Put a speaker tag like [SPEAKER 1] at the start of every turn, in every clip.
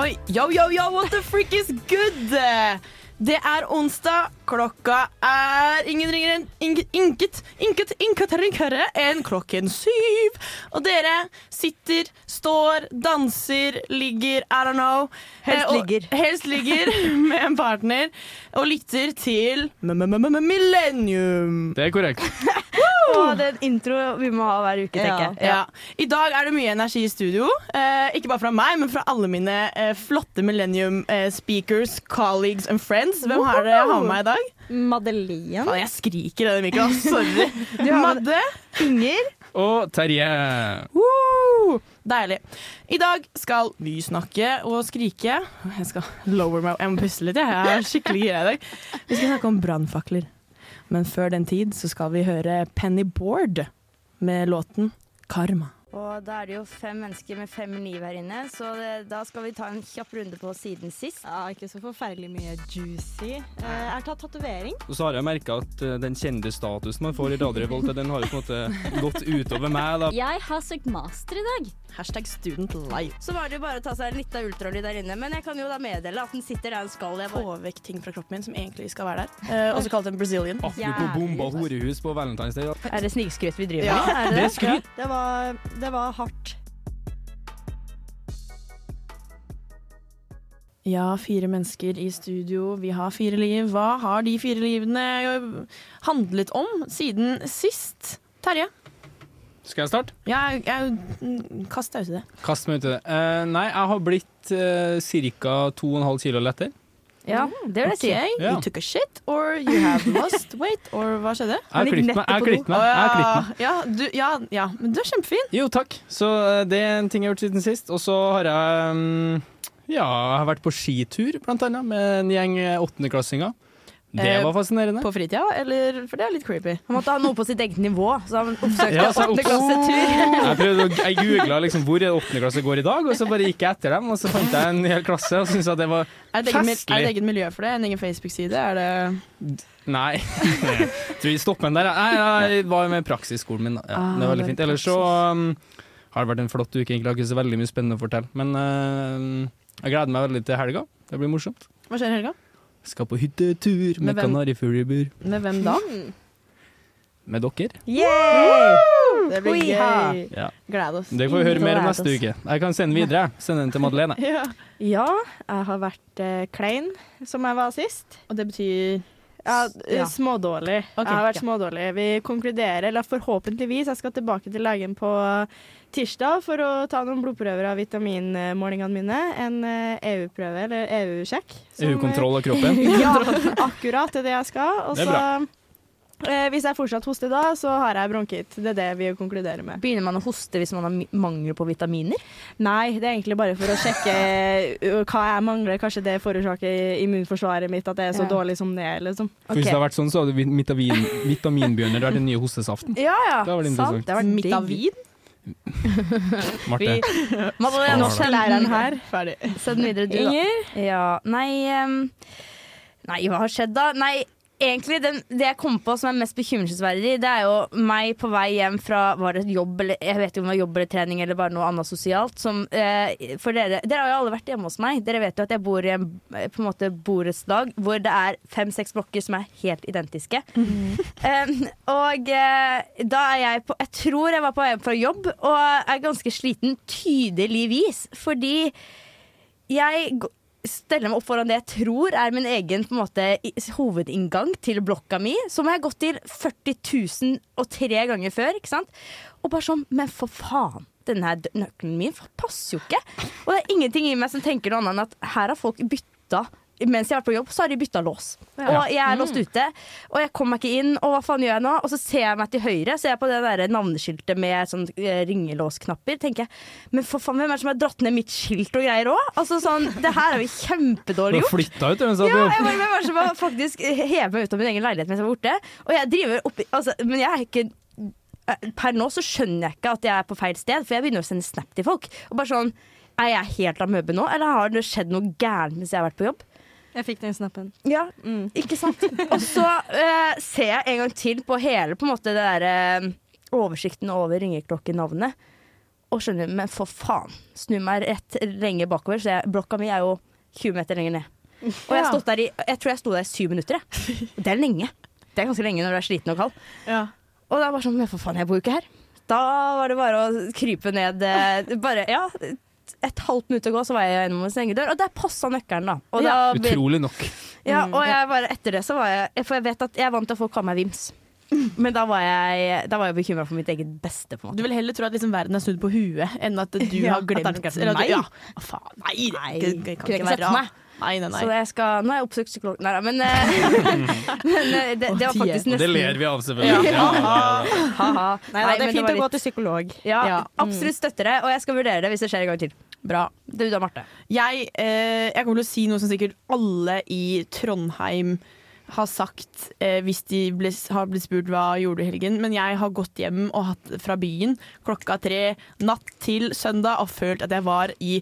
[SPEAKER 1] Oi, yo, yo, yo, what the freak is good? Det er onsdag, klokka er ingen ringer enn ing- inket, inket, inket ringere enn klokken syv. Og dere sitter, står, danser, ligger, I don't know.
[SPEAKER 2] Helst
[SPEAKER 1] Eh, og-
[SPEAKER 2] ligger.
[SPEAKER 1] Helst ligger med en partner og lytter til M-m-m-m-millennium.
[SPEAKER 3] Det er korrekt.
[SPEAKER 2] Og det er en intro vi må ha hver uke, tenker jeg.
[SPEAKER 1] Ja. I dag er det mye energi i studio. Eh, ikke bare fra meg, men fra alle mine eh, flotte Millennium eh, speakers, colleagues and friends. Hvem har dere har med meg i dag?
[SPEAKER 4] Madeleine.
[SPEAKER 1] Faen, jeg skriker i denne mikroen. Sorry. Madde.
[SPEAKER 2] Inger,
[SPEAKER 3] Og Terje.
[SPEAKER 1] Woo! Deilig. I dag skal vi snakke og skrike. Jeg skal lower meg, jeg må puste litt. Jeg, jeg er skikkelig gira i dag. Vi skal snakke om brannfakler. Men før den tid så skal vi høre Penny Board med låten 'Karma'.
[SPEAKER 2] Og da er det jo fem mennesker med fem liv her inne, så det, da skal vi ta en kjapp runde på siden sist.
[SPEAKER 4] Ja, ikke så forferdelig mye juicy. Eh, Jeg har tatt tatovering.
[SPEAKER 3] Og så har jeg merka at eh, den kjendisstatusen man får i Radio Revolt, den har jo på en måte gått utover meg, da.
[SPEAKER 5] Jeg har søkt master i dag.
[SPEAKER 1] Hashtag student life.
[SPEAKER 2] Så var det jo bare å ta seg en liten ultralyd der inne, men jeg kan jo da meddele at den sitter der den skal. Jeg bare
[SPEAKER 1] få vekk ting fra kroppen min som egentlig skal være der. Eh, også kalt en brazilian.
[SPEAKER 3] Apropos bomba horehus på Valentine's Day. da.
[SPEAKER 2] Er det snikskryt vi driver
[SPEAKER 1] Ja.
[SPEAKER 2] med? Er det?
[SPEAKER 3] Det er skryt.
[SPEAKER 4] Det var, det var hardt.
[SPEAKER 1] Ja, fire mennesker i studio, vi har fire liv. Hva har de fire livene eh, handlet om siden sist? Terje?
[SPEAKER 3] Skal jeg starte?
[SPEAKER 1] Jeg, jeg mm, Kast deg uti det.
[SPEAKER 3] Kast meg uti det. Eh, nei, jeg har blitt uh, ca. 2,5 kilo lettere.
[SPEAKER 2] Ja, det vil jeg si.
[SPEAKER 1] Ok,
[SPEAKER 3] Ja.
[SPEAKER 1] You took a shit, or you have lost weight, or hva skjedde?
[SPEAKER 3] Jeg har
[SPEAKER 2] gikk
[SPEAKER 3] klippet
[SPEAKER 2] nettopp på do.
[SPEAKER 3] meg. Jeg har klippet meg. Jeg har klippet meg.
[SPEAKER 1] ja, du, ja, ja, men du er kjempefin.
[SPEAKER 3] Jo, takk. Så eh, det er en ting jeg har gjort siden sist. Og så har jeg mm, Ja, jeg har vært på skitur, blant annet, med en gjeng eh, åttendeklassinger. Det
[SPEAKER 1] Eh,
[SPEAKER 3] var fascinerende.
[SPEAKER 1] På fritida, eller For det er litt creepy.
[SPEAKER 2] Han måtte ha noe på sitt eget nivå, så han oppsøkte
[SPEAKER 3] Ja, så jeg
[SPEAKER 2] åttende klasse tur.
[SPEAKER 3] Jeg, prøvde, å- jeg googla liksom hvor er åttende klasse går i dag, og så bare gikk jeg etter dem. Og så fant jeg en hel klasse og syntes at det var
[SPEAKER 1] Er det et eget mil-
[SPEAKER 3] Festlig.
[SPEAKER 1] er det et eget miljø for det? En egen Facebook-side? Er det
[SPEAKER 3] Nei. Tror vi stopper den der. ja. Nei, jeg var jo med i praksisskolen min. da. Ja,
[SPEAKER 1] Ah,
[SPEAKER 3] det var
[SPEAKER 1] det er
[SPEAKER 3] veldig fint. Ellers så um, har det vært en flott uke, egentlig. Jeg har ikke så veldig mye spennende å fortelle. Men eh, jeg gleder meg veldig til helga. Det blir morsomt.
[SPEAKER 1] Hva skjer i helga?
[SPEAKER 3] Skal på hyttetur
[SPEAKER 1] Med
[SPEAKER 3] med
[SPEAKER 1] hvem?
[SPEAKER 3] kanarifugl i bur.
[SPEAKER 1] Med hvem da?
[SPEAKER 3] Med dere.
[SPEAKER 1] Det
[SPEAKER 2] blir gøy.
[SPEAKER 3] Ja.
[SPEAKER 1] Gleder oss.
[SPEAKER 3] Det får vi høre mer om
[SPEAKER 2] Gleder
[SPEAKER 3] neste
[SPEAKER 2] oss.
[SPEAKER 3] uke. Jeg kan sende videre. jeg. Sende den til Madeleine.
[SPEAKER 1] Ja.
[SPEAKER 4] Ja, jeg har vært eh, klein, som jeg var sist.
[SPEAKER 1] Og det betyr
[SPEAKER 4] Ja,
[SPEAKER 1] S- ja.
[SPEAKER 4] Smådårlig.
[SPEAKER 1] Ok,
[SPEAKER 4] jeg har vært
[SPEAKER 1] ja.
[SPEAKER 4] smådårlig. Vi konkluderer, eller forhåpentligvis, jeg skal tilbake til legen på tirsdag for å ta noen blodprøver av vitaminmålingene mine. En eh, EU-prøve, eller EU-sjekk. som, eh,
[SPEAKER 3] EU-kontroll av kroppen.
[SPEAKER 4] Ja, akkurat det er det jeg skal. Og
[SPEAKER 3] Det er
[SPEAKER 4] så eh, hvis jeg fortsatt hoster da, så har jeg bronkitt. Det er det vi konkluderer med.
[SPEAKER 2] Begynner man å hoste hvis man har mi- mangel på vitaminer?
[SPEAKER 4] Nei, det er egentlig bare for å sjekke uh, hva jeg mangler. Kanskje det forårsaker immunforsvaret mitt at det er så
[SPEAKER 2] Ja.
[SPEAKER 4] dårlig som det er, liksom.
[SPEAKER 3] For Hvis det hadde vært sånn, så hadde vit- vitamin, vitaminbjørner vært den nye hostesaften.
[SPEAKER 4] Ja, ja.
[SPEAKER 3] Det var litt
[SPEAKER 4] sant.
[SPEAKER 3] interessant.
[SPEAKER 4] Det var digg.
[SPEAKER 1] Mitavin?
[SPEAKER 3] Marte.
[SPEAKER 2] Madeleine,
[SPEAKER 3] Nå
[SPEAKER 2] nå
[SPEAKER 3] skal
[SPEAKER 2] skal
[SPEAKER 4] Læreren
[SPEAKER 2] her.
[SPEAKER 4] her. Ferdig.
[SPEAKER 2] Send den videre, du, da.
[SPEAKER 4] Inger?
[SPEAKER 2] Ja, nei ehm, Nei, hva har skjedd da? Nei, egentlig den, det jeg kom på som er mest bekymringsverdig, det er jo meg på vei hjem fra Var det jobb eller Jeg vet ikke om det var jobb eller trening eller bare noe annet sosialt. Som, eh, for dere Dere har jo alle vært hjemme hos meg. Dere vet jo at jeg bor i en eh, på en måte borettslag hvor det er fem-seks blokker som er helt identiske. Eh, og eh, da er jeg på Jeg tror jeg var på vei hjem fra jobb og er ganske sliten, tydeligvis, fordi jeg g- steller meg opp foran det jeg tror er min egen på en måte, i- hovedinngang til blokka mi, som jeg har gått til 40 000 og tre ganger før. Ikke sant? Og bare sånn, men for faen. Denne her dø- nøkkelen min fa- passer jo ikke. Og det er ingenting i meg som tenker noe annet enn at her har folk bytta mens jeg har vært på jobb, så har de bytta lås. Og jeg er låst ute, og jeg kommer meg ikke inn. Og hva faen gjør jeg nå? Og så ser jeg meg til høyre, ser jeg på det der navneskiltet med sånn eh, ringelåsknapper. Tenker jeg, men for faen, hvem er det som har dratt ned mitt skilt og greier òg? Altså sånn, det her er jo
[SPEAKER 3] Du
[SPEAKER 2] kjempedårlig
[SPEAKER 3] har
[SPEAKER 2] gjort.
[SPEAKER 3] flytta ut, mens at
[SPEAKER 2] Ja,
[SPEAKER 3] du
[SPEAKER 2] jeg bare, hvem er det som har faktisk hevet meg ut av min egen leilighet mens jeg var borte? Og jeg driver oppi altså, Men jeg er ikke eh, Per nå så skjønner jeg ikke at jeg er på feil sted, for jeg begynner å sende snap til folk. Og bare sånn Er jeg helt amøbe nå, eller har det skjedd noe gærent mens jeg har vært på jobb?
[SPEAKER 4] Jeg fikk den snappen.
[SPEAKER 2] Ja, ikke sant? Og så eh, ser jeg en gang til på hele på en måte det der, eh, oversikten over ringeklokken-navnet. Og skjønner, men for faen. Snu meg rett lenge bakover, så jeg, blokka mi er jo 20 meter lenger ned. Og jeg, har stått der i, jeg tror jeg sto der i syv minutter. Jeg. Og Det er lenge. Det er ganske lenge når du er sliten og kald.
[SPEAKER 4] Ja.
[SPEAKER 2] Og det er bare sånn, men for faen, jeg bor jo ikke her. Da var det bare å krype ned eh, Bare, ja, et halvt minutt å gå, så var jeg gjennom en stengedør. Og der passa nøkkelen, da. Og,
[SPEAKER 4] Ja.
[SPEAKER 2] da
[SPEAKER 3] Utrolig nok.
[SPEAKER 2] ja, og jeg bare, etter det så var jeg For jeg vet at jeg er vant til at folk kaller meg Vims. Men da var jeg, da var jeg bekymra for mitt eget beste, på en måte.
[SPEAKER 1] Du vil heller tro at liksom verden er snudd på huet, enn at du
[SPEAKER 2] Ja,
[SPEAKER 1] har glemt
[SPEAKER 2] at det er
[SPEAKER 1] eller at du-
[SPEAKER 2] meg?
[SPEAKER 1] Ja. Faen, nei, det
[SPEAKER 2] Nei,
[SPEAKER 1] kan ikke- det kan
[SPEAKER 2] kunne jeg
[SPEAKER 1] ikke
[SPEAKER 2] ikke
[SPEAKER 1] være
[SPEAKER 2] sett meg.
[SPEAKER 1] rart. Nei, nei, nei.
[SPEAKER 2] Så jeg skal, nå har jeg oppsøkt psykolog Nei da, men, eh, men eh, det, det
[SPEAKER 1] Å,
[SPEAKER 2] var faktisk
[SPEAKER 1] tie.
[SPEAKER 2] nesten
[SPEAKER 3] Og det ler vi av, selvfølgelig. Ja. Ja,
[SPEAKER 2] Ha-ha.
[SPEAKER 4] Nei, da, det
[SPEAKER 2] men
[SPEAKER 4] er fint
[SPEAKER 2] var
[SPEAKER 4] å gå
[SPEAKER 2] litt-
[SPEAKER 4] til psykolog.
[SPEAKER 2] ja,
[SPEAKER 1] Ja.
[SPEAKER 2] Absolutt støtter det, og jeg skal vurdere det hvis det skjer en gang til.
[SPEAKER 1] Bra.
[SPEAKER 2] Du da, Marte.
[SPEAKER 1] Jeg, eh, jeg kommer til å si noe som sikkert alle i Trondheim har sagt eh, hvis de ble, har blitt spurt hva gjorde du i helgen. Men jeg har gått hjem og hatt fra byen klokka tre natt til søndag og følt at jeg var i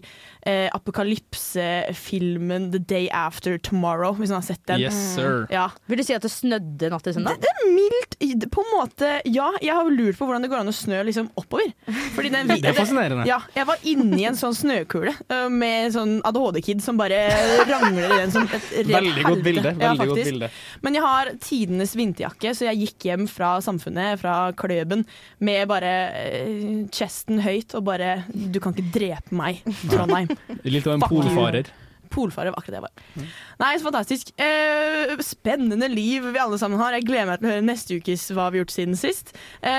[SPEAKER 1] eh, apokalypsefilmen The Day After Tomorrow, hvis man har sett den.
[SPEAKER 3] Yes, sir.
[SPEAKER 1] Ja,
[SPEAKER 2] Vil du si at det snødde natt til søndag?
[SPEAKER 1] Mildt i- På en måte, ja. Jeg har lurt på hvordan det går an å snø liksom oppover. Fordi den,
[SPEAKER 3] Det er fascinerende.
[SPEAKER 1] Ja, jeg var inni en sånn snøkule øh, med en sånn ADHD-kid som bare rangler i den som et rent
[SPEAKER 3] Veldig godt
[SPEAKER 1] helvete.
[SPEAKER 3] bilde.
[SPEAKER 1] Ja,
[SPEAKER 3] Veldig godt
[SPEAKER 1] faktisk.
[SPEAKER 3] bilde.
[SPEAKER 1] Men jeg har tidenes vinterjakke, så jeg gikk hjem fra samfunnet, fra kløben, med bare øh, chesten høyt og bare Du kan ikke drepe meg, Trondheim.
[SPEAKER 3] Litt av en
[SPEAKER 1] Fuck you.
[SPEAKER 3] polfarer.
[SPEAKER 1] Polfarer var akkurat det jeg var. Nei, så fantastisk. Eh, spennende liv vi alle sammen har. Jeg gleder meg til å høre neste ukes Hva har vi gjort siden sist. Eh,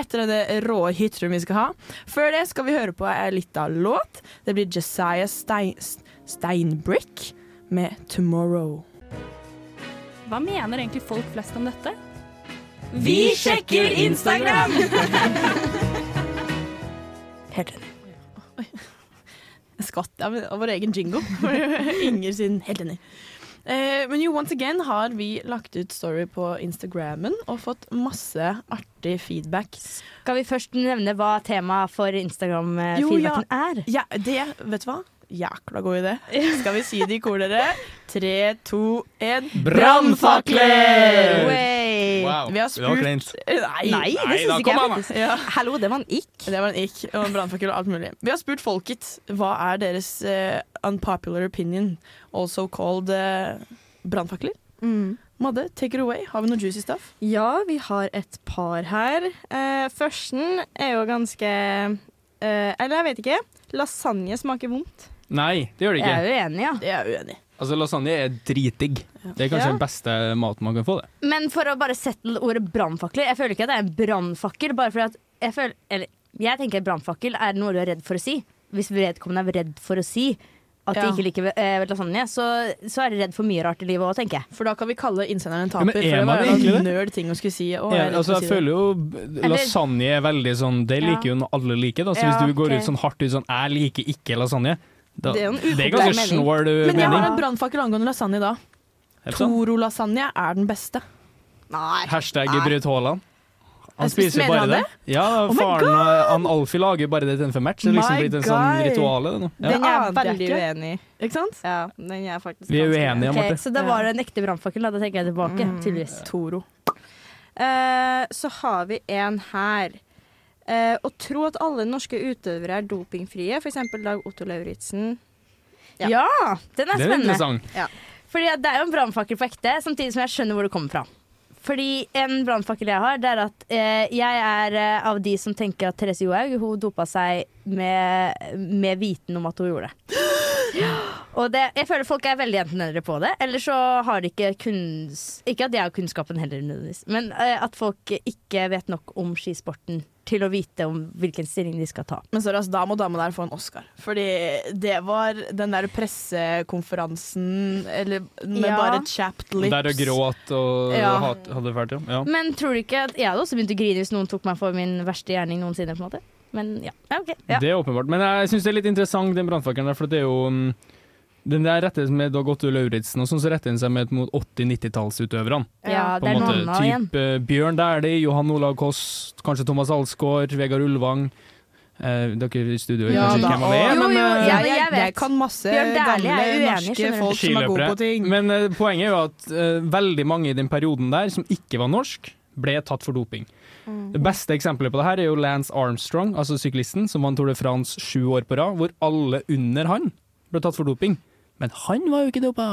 [SPEAKER 1] etter denne rå hitrum vi skal ha. Før det skal vi høre på ei lita låt. Det blir Jesiah Stein Steinbrick med 'Tomorrow'.
[SPEAKER 5] Hva mener egentlig folk flest om dette?
[SPEAKER 2] Vi sjekker Instagram! Helt enig.
[SPEAKER 1] Jeg skvatt av, av vår egen jingo. Inger sin helt enig. Eh, men jo, once again har vi lagt ut story på Instagrammen og fått masse artig feedback.
[SPEAKER 2] Skal vi først nevne hva temaet for
[SPEAKER 1] Jo, ja.
[SPEAKER 2] Instagram-feedbacken er?
[SPEAKER 1] Ja, det, vet du hva? Jækla god idé. Skal vi si det i kor, dere? Tre, to, én.
[SPEAKER 3] Brannfakler!
[SPEAKER 2] Way.
[SPEAKER 1] Vi har spurt-
[SPEAKER 3] Det var kleint.
[SPEAKER 1] Nei!
[SPEAKER 2] Nei, det
[SPEAKER 3] Nei, da
[SPEAKER 2] syns ikke
[SPEAKER 3] kom
[SPEAKER 2] jeg.
[SPEAKER 3] han, da.
[SPEAKER 2] faktisk.
[SPEAKER 1] Ja,
[SPEAKER 2] Hallo, det var en ikk.
[SPEAKER 1] det var en ikk og en brannfakkel og alt mulig. Vi har spurt folket hva er deres eh, unpopular opinion, also called uh, brannfakler.
[SPEAKER 4] Mm.
[SPEAKER 1] Madde, take it away. Har vi noe juicy stuff?
[SPEAKER 4] Ja, vi har et par her. Eh, førsten er jo ganske eh, Eller jeg vet ikke. Lasagne smaker vondt.
[SPEAKER 3] Nei, det gjør det
[SPEAKER 2] Jeg
[SPEAKER 3] ikke.
[SPEAKER 2] er jo enig, ja.
[SPEAKER 1] Det er jeg uenig i.
[SPEAKER 3] Altså, lasagne er dritdigg. Det er kanskje
[SPEAKER 4] Ja.
[SPEAKER 3] den beste maten man kan få. det.
[SPEAKER 2] Men for å bare settle ordet brannfakler Jeg føler ikke at det er en brannfakkel. Bare fordi at jeg føler Eller jeg tenker brannfakkel er noe du er redd for å si. Hvis vedkommende er redd for å si at de
[SPEAKER 1] Ja.
[SPEAKER 2] ikke liker eh, lasagne, så, så er de redd for mye rart i livet òg, tenker jeg.
[SPEAKER 1] For da kan vi kalle innsenderen en
[SPEAKER 3] Ja, men
[SPEAKER 1] taper.
[SPEAKER 3] er
[SPEAKER 1] for det
[SPEAKER 3] man
[SPEAKER 1] var
[SPEAKER 3] egentlig
[SPEAKER 1] en
[SPEAKER 3] det?
[SPEAKER 1] nerd ting å skulle si. Å,
[SPEAKER 3] Ja,
[SPEAKER 1] jeg er redd
[SPEAKER 3] altså,
[SPEAKER 1] for å
[SPEAKER 3] jeg
[SPEAKER 1] si det.
[SPEAKER 3] føler jo Lasagne er veldig sånn Det liker jo alle like. Da. Så
[SPEAKER 2] Ja,
[SPEAKER 3] hvis du går
[SPEAKER 2] ok.
[SPEAKER 3] ut sånn hardt ut sånn 'jeg liker ikke lasagne', da,
[SPEAKER 4] Det er jo en
[SPEAKER 3] det er
[SPEAKER 4] upopulær
[SPEAKER 3] ganske
[SPEAKER 4] mening.
[SPEAKER 3] snål uh,
[SPEAKER 1] Men jeg har
[SPEAKER 3] mening.
[SPEAKER 1] en brannfakkel angående lasagne da.
[SPEAKER 3] Er det sant?
[SPEAKER 1] Toro-lasagne er den beste.
[SPEAKER 2] Nei.
[SPEAKER 3] Hashtag Braut Haaland. Han
[SPEAKER 1] Jeg spiste-
[SPEAKER 3] spiser
[SPEAKER 1] mener
[SPEAKER 3] bare
[SPEAKER 1] han
[SPEAKER 3] det. Ja,
[SPEAKER 1] my
[SPEAKER 3] faren uh, han Alfie lager bare det til en femmatch. Det er liksom
[SPEAKER 1] My
[SPEAKER 3] blitt en sånn
[SPEAKER 1] guy.
[SPEAKER 3] ritual. det nå. Ja.
[SPEAKER 4] Den er jeg
[SPEAKER 1] aner jeg
[SPEAKER 4] veldig
[SPEAKER 1] ikke.
[SPEAKER 4] uenig i.
[SPEAKER 1] Ikke sant?
[SPEAKER 4] Ja, den er jeg faktisk
[SPEAKER 3] Vi er
[SPEAKER 4] ganske
[SPEAKER 3] uenige,
[SPEAKER 4] uenig i.
[SPEAKER 2] Ok,
[SPEAKER 3] Marte.
[SPEAKER 2] så da var det en ekte brannfakkel, da. Da tenker jeg tilbake, tydeligvis.
[SPEAKER 1] Toro.
[SPEAKER 4] Eh, så har vi en her. Eh, å tro at alle norske utøvere er dopingfrie, f.eks. Dag Otto Lauritzen. Ja.
[SPEAKER 2] Ja. den er
[SPEAKER 3] Det er
[SPEAKER 2] spennende.
[SPEAKER 3] interessant.
[SPEAKER 2] Fordi at det er jo en brannfakkel på ekte, samtidig som jeg skjønner hvor det kommer fra. Fordi en brannfakkel jeg har, det er at eh, jeg er eh, av de som tenker at Therese Johaug hun dopa seg med, med viten om at hun gjorde det. Og det, jeg føler folk er veldig enten eller på det, eller så har de ikke kunns... Ikke at jeg har kunnskapen heller, nødvendigvis, men eh, at folk ikke vet nok om skisporten til å vite om hvilken stilling de skal ta.
[SPEAKER 1] Men sorry, ass, da må dama der få en Oscar. Fordi det var den der pressekonferansen eller, med
[SPEAKER 2] Ja.
[SPEAKER 1] bare chapped lips.
[SPEAKER 3] Der og gråt og
[SPEAKER 1] Ja.
[SPEAKER 3] hat, hadde det vært, ja. ja.
[SPEAKER 2] Men tror du ikke at Jeg hadde også begynt å grine hvis noen tok meg for min verste gjerning noensinne. på en måte Men ja, ja ok. Ja.
[SPEAKER 3] Det er åpenbart. Men jeg syns det er litt interessant, den brannfakkelen der, for det er jo mm, den der retter med Dag Otto Lauritzen, og sånn så retter den seg med mot 80-90-tallsutøverne.
[SPEAKER 2] Ja, det
[SPEAKER 3] På
[SPEAKER 2] er
[SPEAKER 3] en
[SPEAKER 2] noe
[SPEAKER 3] måte
[SPEAKER 2] annet igjen.
[SPEAKER 3] type eh, Bjørn Dæhlie, Johan Olav Koss, kanskje Thomas Alsgaard, Vegard Ulvang. Eh, dere i studio vet
[SPEAKER 1] Ja,
[SPEAKER 3] kanskje
[SPEAKER 1] da,
[SPEAKER 3] ikke hvem han er?
[SPEAKER 2] Jo,
[SPEAKER 1] men,
[SPEAKER 2] jo,
[SPEAKER 1] eh,
[SPEAKER 2] ja,
[SPEAKER 1] jeg,
[SPEAKER 2] jeg vet.
[SPEAKER 1] kan masse
[SPEAKER 2] Bjørn
[SPEAKER 1] gamle
[SPEAKER 2] Dæhlie er uenig,
[SPEAKER 1] norske
[SPEAKER 2] skjønner du.
[SPEAKER 1] folk som er gode
[SPEAKER 3] Skiløpere.
[SPEAKER 1] på ting.
[SPEAKER 3] Men eh, poenget er jo at eh, veldig mange i den perioden der som ikke var norsk, ble tatt for doping.
[SPEAKER 1] Mm.
[SPEAKER 3] Det beste eksempelet på det her er jo Lance Armstrong, altså syklisten som vant Tour de France sju år på rad, hvor alle under han ble tatt for doping. Men han var jo ikke dopa!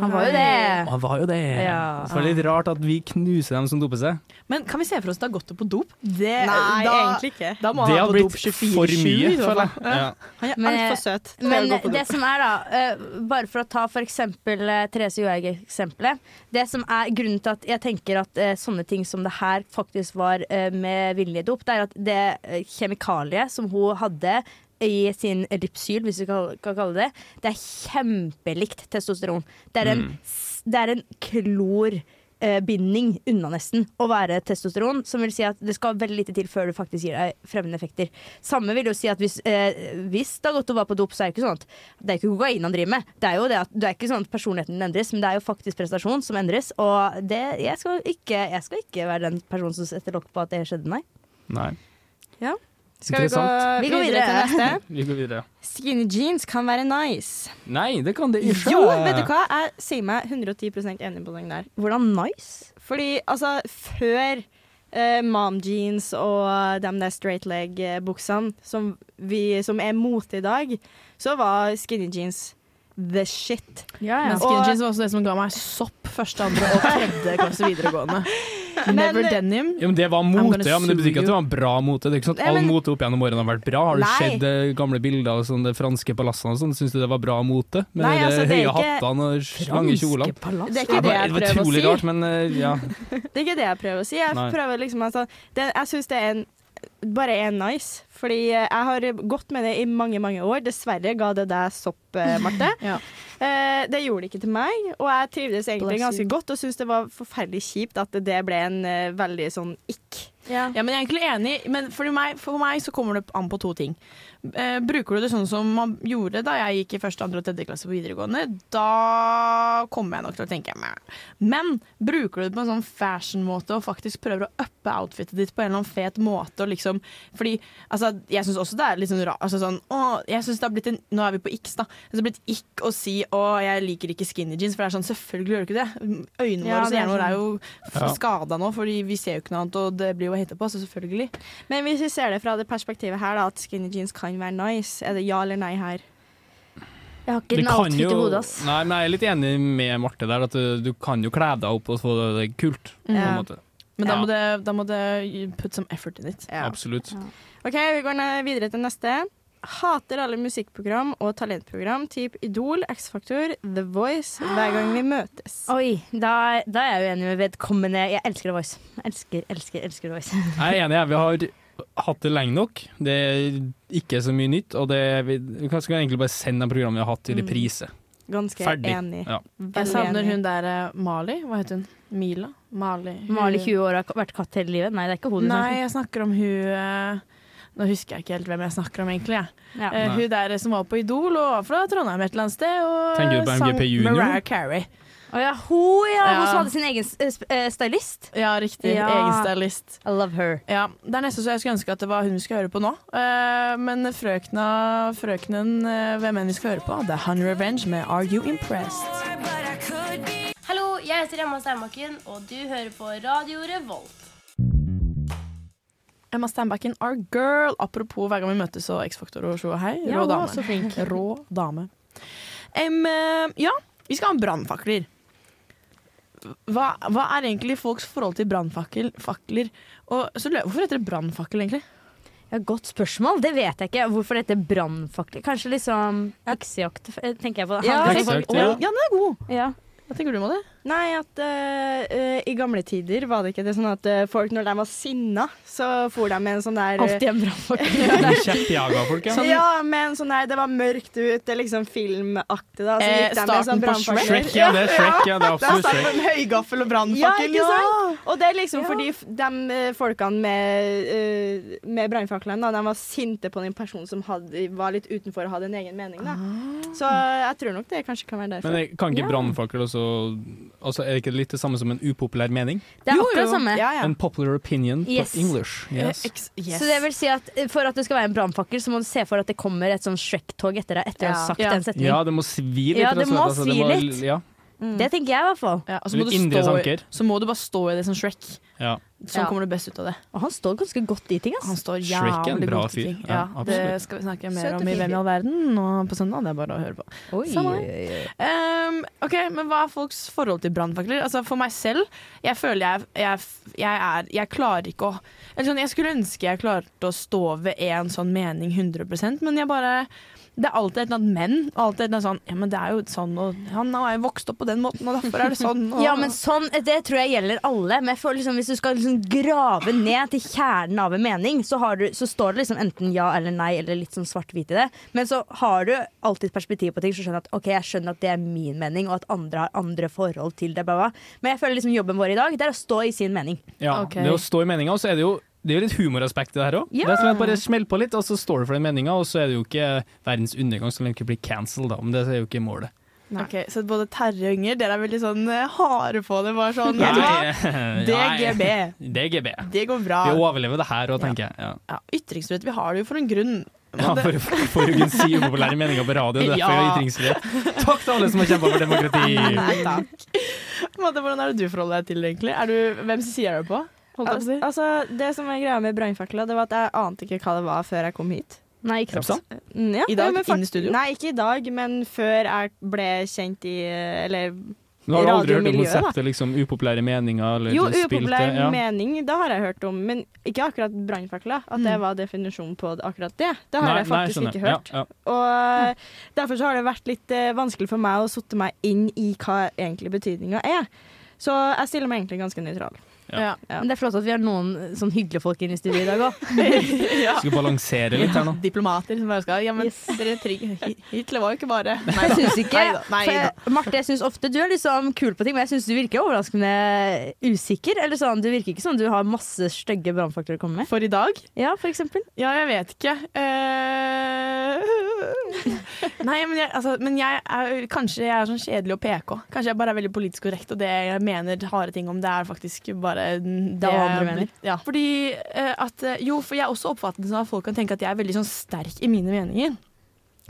[SPEAKER 2] Han var jo det.
[SPEAKER 3] Han var jo det.
[SPEAKER 2] Ja.
[SPEAKER 3] Så det er litt rart at vi knuser dem som doper seg.
[SPEAKER 1] Men kan vi se for oss det har gått opp på dop? Det,
[SPEAKER 4] Eh, Nei,
[SPEAKER 1] da,
[SPEAKER 4] egentlig ikke.
[SPEAKER 1] Da må
[SPEAKER 3] det
[SPEAKER 1] han ha
[SPEAKER 3] har
[SPEAKER 1] på
[SPEAKER 3] blitt
[SPEAKER 1] dop 24-7.
[SPEAKER 3] for mye,
[SPEAKER 1] i så fall.
[SPEAKER 3] føler jeg. Ja.
[SPEAKER 4] Han er
[SPEAKER 2] Men-
[SPEAKER 4] altfor søt til
[SPEAKER 2] Men
[SPEAKER 4] å gå på do.
[SPEAKER 2] det som er da, eh, bare for å ta for eksempel eh, Therese Johaug-eksempelet Det som er grunnen til at jeg tenker at eh, sånne ting som det her faktisk var eh, med vilje dop, det er at det eh, kjemikaliet som hun hadde i sin ripsyl, hvis vi kan kan kalle det det, er kjempelikt testosteron. Det er en, s- det er en klor eh, binding unna nesten å være testosteron, som vil si at det skal veldig lite til før du faktisk gir deg fremmende effekter. Samme vil jo si at hvis, eh, hvis det har gått over på dop, så er det ikke sånn at det er ikke kokain han driver med. Det er jo det at, det er ikke sånn at personligheten din endres, men det er jo faktisk prestasjon som endres. Og det, jeg, skal ikke, jeg skal ikke være den personen som setter lokk på at det skjedde, nei.
[SPEAKER 3] Nei.
[SPEAKER 4] Skal vi gå
[SPEAKER 3] Interessant.
[SPEAKER 2] Vi går
[SPEAKER 4] videre til
[SPEAKER 2] videre.
[SPEAKER 4] neste?
[SPEAKER 3] Vi går videre.
[SPEAKER 4] Skinny jeans kan være nice.
[SPEAKER 3] Nei, det kan det ikke.
[SPEAKER 4] Jo, vet du hva? Jeg sier meg 110 enig på den der.
[SPEAKER 2] Hvordan nice?
[SPEAKER 4] Fordi altså, før eh, mom jeans og de der straight leg-buksene som, vi- som er mote i dag, så var skinny jeans the shit.
[SPEAKER 1] Men skinny jeans var også det som ga meg sopp første, andre og tredje klasse videregående. Never
[SPEAKER 4] Men-
[SPEAKER 1] denim.
[SPEAKER 3] Ja, men det var
[SPEAKER 1] I'm
[SPEAKER 3] mote,
[SPEAKER 1] gonna
[SPEAKER 3] ja, men det betyr ikke
[SPEAKER 1] sue
[SPEAKER 3] at det var bra mote. Det er ikke sånn at
[SPEAKER 4] Nei,
[SPEAKER 3] All
[SPEAKER 4] men-
[SPEAKER 3] mote opp gjennom årene har vært bra. Har du
[SPEAKER 4] Nei.
[SPEAKER 3] sett eh, gamle bilder av sånn, de franske palassene og sånn? Syns du det var bra mote? Med
[SPEAKER 4] Nei,
[SPEAKER 3] de
[SPEAKER 4] altså, det er
[SPEAKER 3] høye
[SPEAKER 4] ikke-
[SPEAKER 3] hattene og lange kjolene?
[SPEAKER 4] Det er
[SPEAKER 3] Ja,
[SPEAKER 4] ikke det jeg
[SPEAKER 3] var
[SPEAKER 4] prøver å
[SPEAKER 3] utrolig
[SPEAKER 4] si.
[SPEAKER 3] rart, men eh, ja.
[SPEAKER 4] Det er ikke det jeg prøver å si. Jeg
[SPEAKER 3] Nei.
[SPEAKER 4] prøver liksom altså, det, Jeg syns det er en bare er nice, fordi eh, jeg har gått med det i mange mange år. Dessverre ga det deg sopp, eh, Marte.
[SPEAKER 1] Ja.
[SPEAKER 4] Eh, det gjorde det ikke til meg, og jeg trivdes egentlig
[SPEAKER 1] Bless you.
[SPEAKER 4] ganske godt og syns det var forferdelig kjipt at det ble en eh, veldig sånn ikk.
[SPEAKER 1] Ja, men jeg er egentlig enig, men for meg, for meg så kommer det an på to ting. Eh, bruker du det sånn som man gjorde da jeg gikk i første, andre og tredje klasse på videregående, da kommer jeg nok til å tenke meh. Men bruker du det på en sånn fashion-måte og faktisk prøver å uppe outfitet ditt på en eller annen fet måte og liksom Fordi altså, jeg syns også det er litt sånn rart altså, sånn, å, jeg synes det har blitt en, Nå er vi på X, da. Det har blitt ikk å si å, jeg liker ikke skinny jeans, for det er sånn selvfølgelig gjør du ikke det. Øynene
[SPEAKER 4] Ja,
[SPEAKER 1] våre og
[SPEAKER 4] det er
[SPEAKER 1] hjernen vår er jo
[SPEAKER 3] Ja.
[SPEAKER 1] skada nå, fordi vi ser jo ikke noe annet, og det blir jo hetta på, så selvfølgelig.
[SPEAKER 4] Men hvis vi ser det fra det perspektivet her, da, at skinny jeans kan være nice, er det ja eller nei her?
[SPEAKER 2] Jeg har ikke den outfit i hodet, ass.
[SPEAKER 3] Nei, men jeg er litt enig med Marte der, at eh, du, du kan jo kle deg opp og få det kult. På en
[SPEAKER 4] Ja.
[SPEAKER 3] måte.
[SPEAKER 1] Men da
[SPEAKER 3] Ja.
[SPEAKER 1] må det, da må det put some effort in it.
[SPEAKER 4] Ja.
[SPEAKER 3] Absolutt.
[SPEAKER 4] OK, vi går ned videre til neste. Hater alle musikkprogram og talentprogram typ Idol, X-Faktor, The Voice hver gang vi møtes.
[SPEAKER 2] Oi, da, da er jeg uenig med vedkommende. Jeg elsker The Voice. Elsker, elsker, elsker The Voice.
[SPEAKER 3] Jeg er enig, jeg. Vi har hatt det lenge nok. Det er ikke så mye nytt. Og det, vi, vi kan skal egentlig bare sende de programmene vi har hatt, i
[SPEAKER 4] Mm.
[SPEAKER 3] reprise.
[SPEAKER 4] Ganske
[SPEAKER 3] Ferdig.
[SPEAKER 4] enig.
[SPEAKER 3] Ja.
[SPEAKER 1] Jeg
[SPEAKER 4] Veldig
[SPEAKER 1] savner
[SPEAKER 4] enig.
[SPEAKER 1] hun der eh, Mali. Hva heter hun? Mila? Mali?
[SPEAKER 2] Mali 20 år har vært katt hele livet. Nei, det er ikke hodet.
[SPEAKER 1] Nei, jeg snakker om hun eh, Nå husker jeg ikke helt hvem jeg snakker om, egentlig. Jeg.
[SPEAKER 2] Ja.
[SPEAKER 1] Eh,
[SPEAKER 3] Nei.
[SPEAKER 1] hun der som var på Idol og var fra Trondheim et eller annet sted, og
[SPEAKER 3] Tenker du på
[SPEAKER 1] sang
[SPEAKER 3] MGP Junior?
[SPEAKER 1] Mariah Carey.
[SPEAKER 2] Å ja, hun, ja.
[SPEAKER 1] Ja.
[SPEAKER 2] Hun som hadde sin egen eh, sp- eh, stylist.
[SPEAKER 1] Ja, riktig.
[SPEAKER 2] Ja.
[SPEAKER 1] Egen stylist.
[SPEAKER 2] I love her.
[SPEAKER 1] Ja, Det er nesten så jeg skulle ønske at det var hun vi skal høre på nå. Eh, men frøkna, frøknen, eh, hvem enn vi skal høre på, det er Hun Revenge med Are You Impressed.
[SPEAKER 6] Hallo, jeg heter Emma Steinbakken, og du hører på Radio Revolt.
[SPEAKER 1] Emma Steinbacken, our girl. Apropos hver gang vi møtes og X-Faktor og show og hei.
[SPEAKER 2] Ja,
[SPEAKER 1] Rå
[SPEAKER 2] hun er
[SPEAKER 1] dame.
[SPEAKER 2] så
[SPEAKER 1] Rå dame. Em, eh, ja, vi skal ha brannfakler. Hva, hva er egentlig folks forhold til brannfakler? fakler? Og så lø- Hvorfor heter det brannfakkel, egentlig?
[SPEAKER 2] Ja, godt spørsmål. Det vet jeg ikke. Hvorfor dette brannfakler? Kanskje liksom heksejakt, f- eh, tenker jeg på.
[SPEAKER 4] Ja,
[SPEAKER 2] Han-
[SPEAKER 3] Heksejakt,
[SPEAKER 1] Å,
[SPEAKER 3] ja.
[SPEAKER 1] ja, den er god.
[SPEAKER 2] ja.
[SPEAKER 1] Hva tenker du om det?
[SPEAKER 4] Nei, at eh, eh, i gamle tider var det ikke det sånn at eh, folk når de var sinna, så for de med en sånn der
[SPEAKER 2] Alltid en brannfakkel.
[SPEAKER 3] Blir Kjeppjaga folk, ja.
[SPEAKER 4] Ja, med en sånn der Det var mørkt ut, det er liksom filmaktig, da. Så
[SPEAKER 1] Eh,
[SPEAKER 4] gikk de med
[SPEAKER 1] starten
[SPEAKER 4] sånn
[SPEAKER 1] på
[SPEAKER 4] brannfakler.
[SPEAKER 3] Shrek, ja. Det er Shrek, ja. Det er absolutt Shrek.
[SPEAKER 1] en høygaffel og
[SPEAKER 4] Ja, ikke
[SPEAKER 1] ja.
[SPEAKER 4] sant? Og det er liksom fordi f- de eh, folkene med, eh, med brannfaklene, da, de var sinte på den personen som hadde, var litt utenfor og hadde en egen mening, da.
[SPEAKER 1] Ah.
[SPEAKER 4] Så eh, jeg tror nok det kanskje kan være derfor.
[SPEAKER 3] Men jeg kan ikke
[SPEAKER 2] Ja.
[SPEAKER 3] brannfakkel også altså, Er ikke det litt det samme som en upopulær mening?
[SPEAKER 2] Det er
[SPEAKER 1] Jo,
[SPEAKER 2] akkurat
[SPEAKER 1] jo.
[SPEAKER 2] samme.
[SPEAKER 4] ja, ja.
[SPEAKER 3] En popular opinion
[SPEAKER 2] Yes.
[SPEAKER 3] på English. Yes.
[SPEAKER 1] Eh, ex- yes.
[SPEAKER 2] Så det vil si at eh, For at det skal være en brannfakkel, så må du se for at det kommer et sånn Shrek-tog etter deg. Etter å
[SPEAKER 1] Ja.
[SPEAKER 2] ha sagt
[SPEAKER 1] Ja.
[SPEAKER 2] den setningen
[SPEAKER 3] Ja, det må svi litt.
[SPEAKER 2] eh, Ja,
[SPEAKER 3] rett og
[SPEAKER 2] det må
[SPEAKER 3] slett, altså,
[SPEAKER 2] svi
[SPEAKER 3] må-
[SPEAKER 2] litt.
[SPEAKER 3] Ja.
[SPEAKER 2] Mm. Det tenker jeg, i hvert fall.
[SPEAKER 1] Mm. ja, og så, Altså, må
[SPEAKER 3] Litt
[SPEAKER 1] du
[SPEAKER 3] indre
[SPEAKER 1] stå, i-
[SPEAKER 3] tanker.
[SPEAKER 1] så må du bare stå i det som Shrek.
[SPEAKER 3] Ja.
[SPEAKER 1] Sånn
[SPEAKER 2] Ja.
[SPEAKER 1] kommer det best ut av det.
[SPEAKER 2] Og han står ganske godt i ting,
[SPEAKER 1] Han
[SPEAKER 2] ass.
[SPEAKER 1] står
[SPEAKER 3] Shrek er en
[SPEAKER 1] jævlig
[SPEAKER 3] bra
[SPEAKER 1] god til
[SPEAKER 3] fyr.
[SPEAKER 1] ting. Ja,
[SPEAKER 3] Ja,
[SPEAKER 1] det
[SPEAKER 3] absolutt.
[SPEAKER 1] skal vi snakke
[SPEAKER 2] Søt
[SPEAKER 1] mer
[SPEAKER 2] og
[SPEAKER 1] om i
[SPEAKER 2] fin
[SPEAKER 1] Hvem i all verden og på søndag. Det er bare å høre på.
[SPEAKER 2] Oi,
[SPEAKER 1] Samme.
[SPEAKER 2] oi, oi.
[SPEAKER 1] Ehm, ok, men Hva er folks forhold til brannfakler? Altså For meg selv, jeg føler jeg, jeg, jeg er Jeg klarer ikke å eller sånn, Jeg skulle ønske jeg klarte å stå ved én sånn mening 100 men jeg bare Det er alltid et eller annet men. og Alltid et eller annet sånn Ja, men det er jo sånn, og han er jo vokst opp på den måten, og derfor er det sånn. Og,
[SPEAKER 2] Ja, men sånn, Det tror jeg gjelder alle. Men jeg føler liksom, hvis du skal liksom grave ned til kjernen av en mening, så, har du, så står det liksom enten ja eller nei, eller litt sånn svart-hvit i det. Men så har du alltid perspektiv på ting, så skjønner jeg at ok, jeg skjønner at det er min mening, og at andre har andre forhold til det. Bla, bla. Men jeg føler liksom jobben vår i dag det er å stå i sin mening.
[SPEAKER 3] Ja,
[SPEAKER 1] Ok.
[SPEAKER 3] Det å stå i meninga, og så er det jo det er jo litt humoraspekt i det her òg.
[SPEAKER 2] Ja.
[SPEAKER 3] Det er sånn at Bare smell på litt, og så står du for den meninga, og så er det jo ikke verdens undergang så lenge du ikke blir cancelled, da. Men det er jo ikke målet.
[SPEAKER 1] Ok, Så både Terje og Inger, dere er veldig sånn eh, harde på det. Bare sånn
[SPEAKER 3] Nei,
[SPEAKER 1] ja, DGB.
[SPEAKER 3] Det er GB.
[SPEAKER 1] Det går bra.
[SPEAKER 3] Vi overlever det her òg, tenker jeg. Ja.
[SPEAKER 1] Ja, ytringsfrihet, vi har det jo for en grunn.
[SPEAKER 3] Ja,
[SPEAKER 1] Men det-
[SPEAKER 3] for, for, for å kunne si upopulære meninger på radio, derfor er
[SPEAKER 1] Ja.
[SPEAKER 3] jeg ytringsfrihet. Takk til alle som har kjempa for demokrati!
[SPEAKER 1] Nei takk. Madde, hvordan er det du forholder deg til det, egentlig? Er du, hvem sin side er du på? Holdt jeg på å si.
[SPEAKER 4] Al altså, det som er greia med brannfakla, det var at jeg ante ikke hva det var før jeg kom hit.
[SPEAKER 2] Nei, ikke
[SPEAKER 3] Epson?
[SPEAKER 2] sant?
[SPEAKER 4] Mm, ja,
[SPEAKER 1] I dag,
[SPEAKER 4] ja, men fakt-
[SPEAKER 1] inn i studio?
[SPEAKER 4] Nei, ikke i dag, men før jeg ble kjent i eh, Eller
[SPEAKER 3] Du har aldri hørt om
[SPEAKER 4] Radiomiljøet, da.
[SPEAKER 3] konseptet liksom, upopulære meninger? Eller,
[SPEAKER 4] jo,
[SPEAKER 3] liksom, spill til-
[SPEAKER 4] upopulær
[SPEAKER 3] ja.
[SPEAKER 4] mening, det har jeg hørt om, men ikke akkurat brannfakla. At
[SPEAKER 1] Mm.
[SPEAKER 4] det var definisjonen på akkurat det. Det har
[SPEAKER 3] Nei,
[SPEAKER 4] jeg faktisk
[SPEAKER 3] nei, skjønner.
[SPEAKER 4] ikke hørt.
[SPEAKER 3] Ja, ja.
[SPEAKER 4] Og eh, derfor så har det vært litt eh, vanskelig for meg å sotte meg inn i hva egentlig betydninga er. Så jeg stiller meg egentlig ganske nøytral.
[SPEAKER 1] Ja.
[SPEAKER 4] Ja.
[SPEAKER 2] Men det er flott at vi har noen sånn hyggelige folk inne i studio i dag òg.
[SPEAKER 3] Skal vi balansere litt her nå?
[SPEAKER 1] Diplomater som bare skal Ja, men dere trygge Hitler var jo ikke bare Nei
[SPEAKER 2] Jeg syns ikke.
[SPEAKER 1] Neida, neida.
[SPEAKER 2] for jeg- Marte, jeg syns ofte du er liksom kul på ting, men jeg syns du virker overraskende usikker. Eller sånn, Du virker ikke som du har masse stygge brannfakler å komme med.
[SPEAKER 1] For i dag?
[SPEAKER 2] Ja, for eksempel.
[SPEAKER 1] Ja, jeg vet ikke. Eh, Nei, men jeg, altså, men jeg er kanskje jeg er sånn kjedelig og PK. Kanskje jeg bare er veldig politisk korrekt, og det jeg mener harde ting om, det er faktisk bare det
[SPEAKER 2] andre mener.
[SPEAKER 1] Ja. Fordi eh, at eh, Jo, for jeg er også oppfattelsen av at folk kan tenke at jeg er veldig sånn sterk i mine meninger.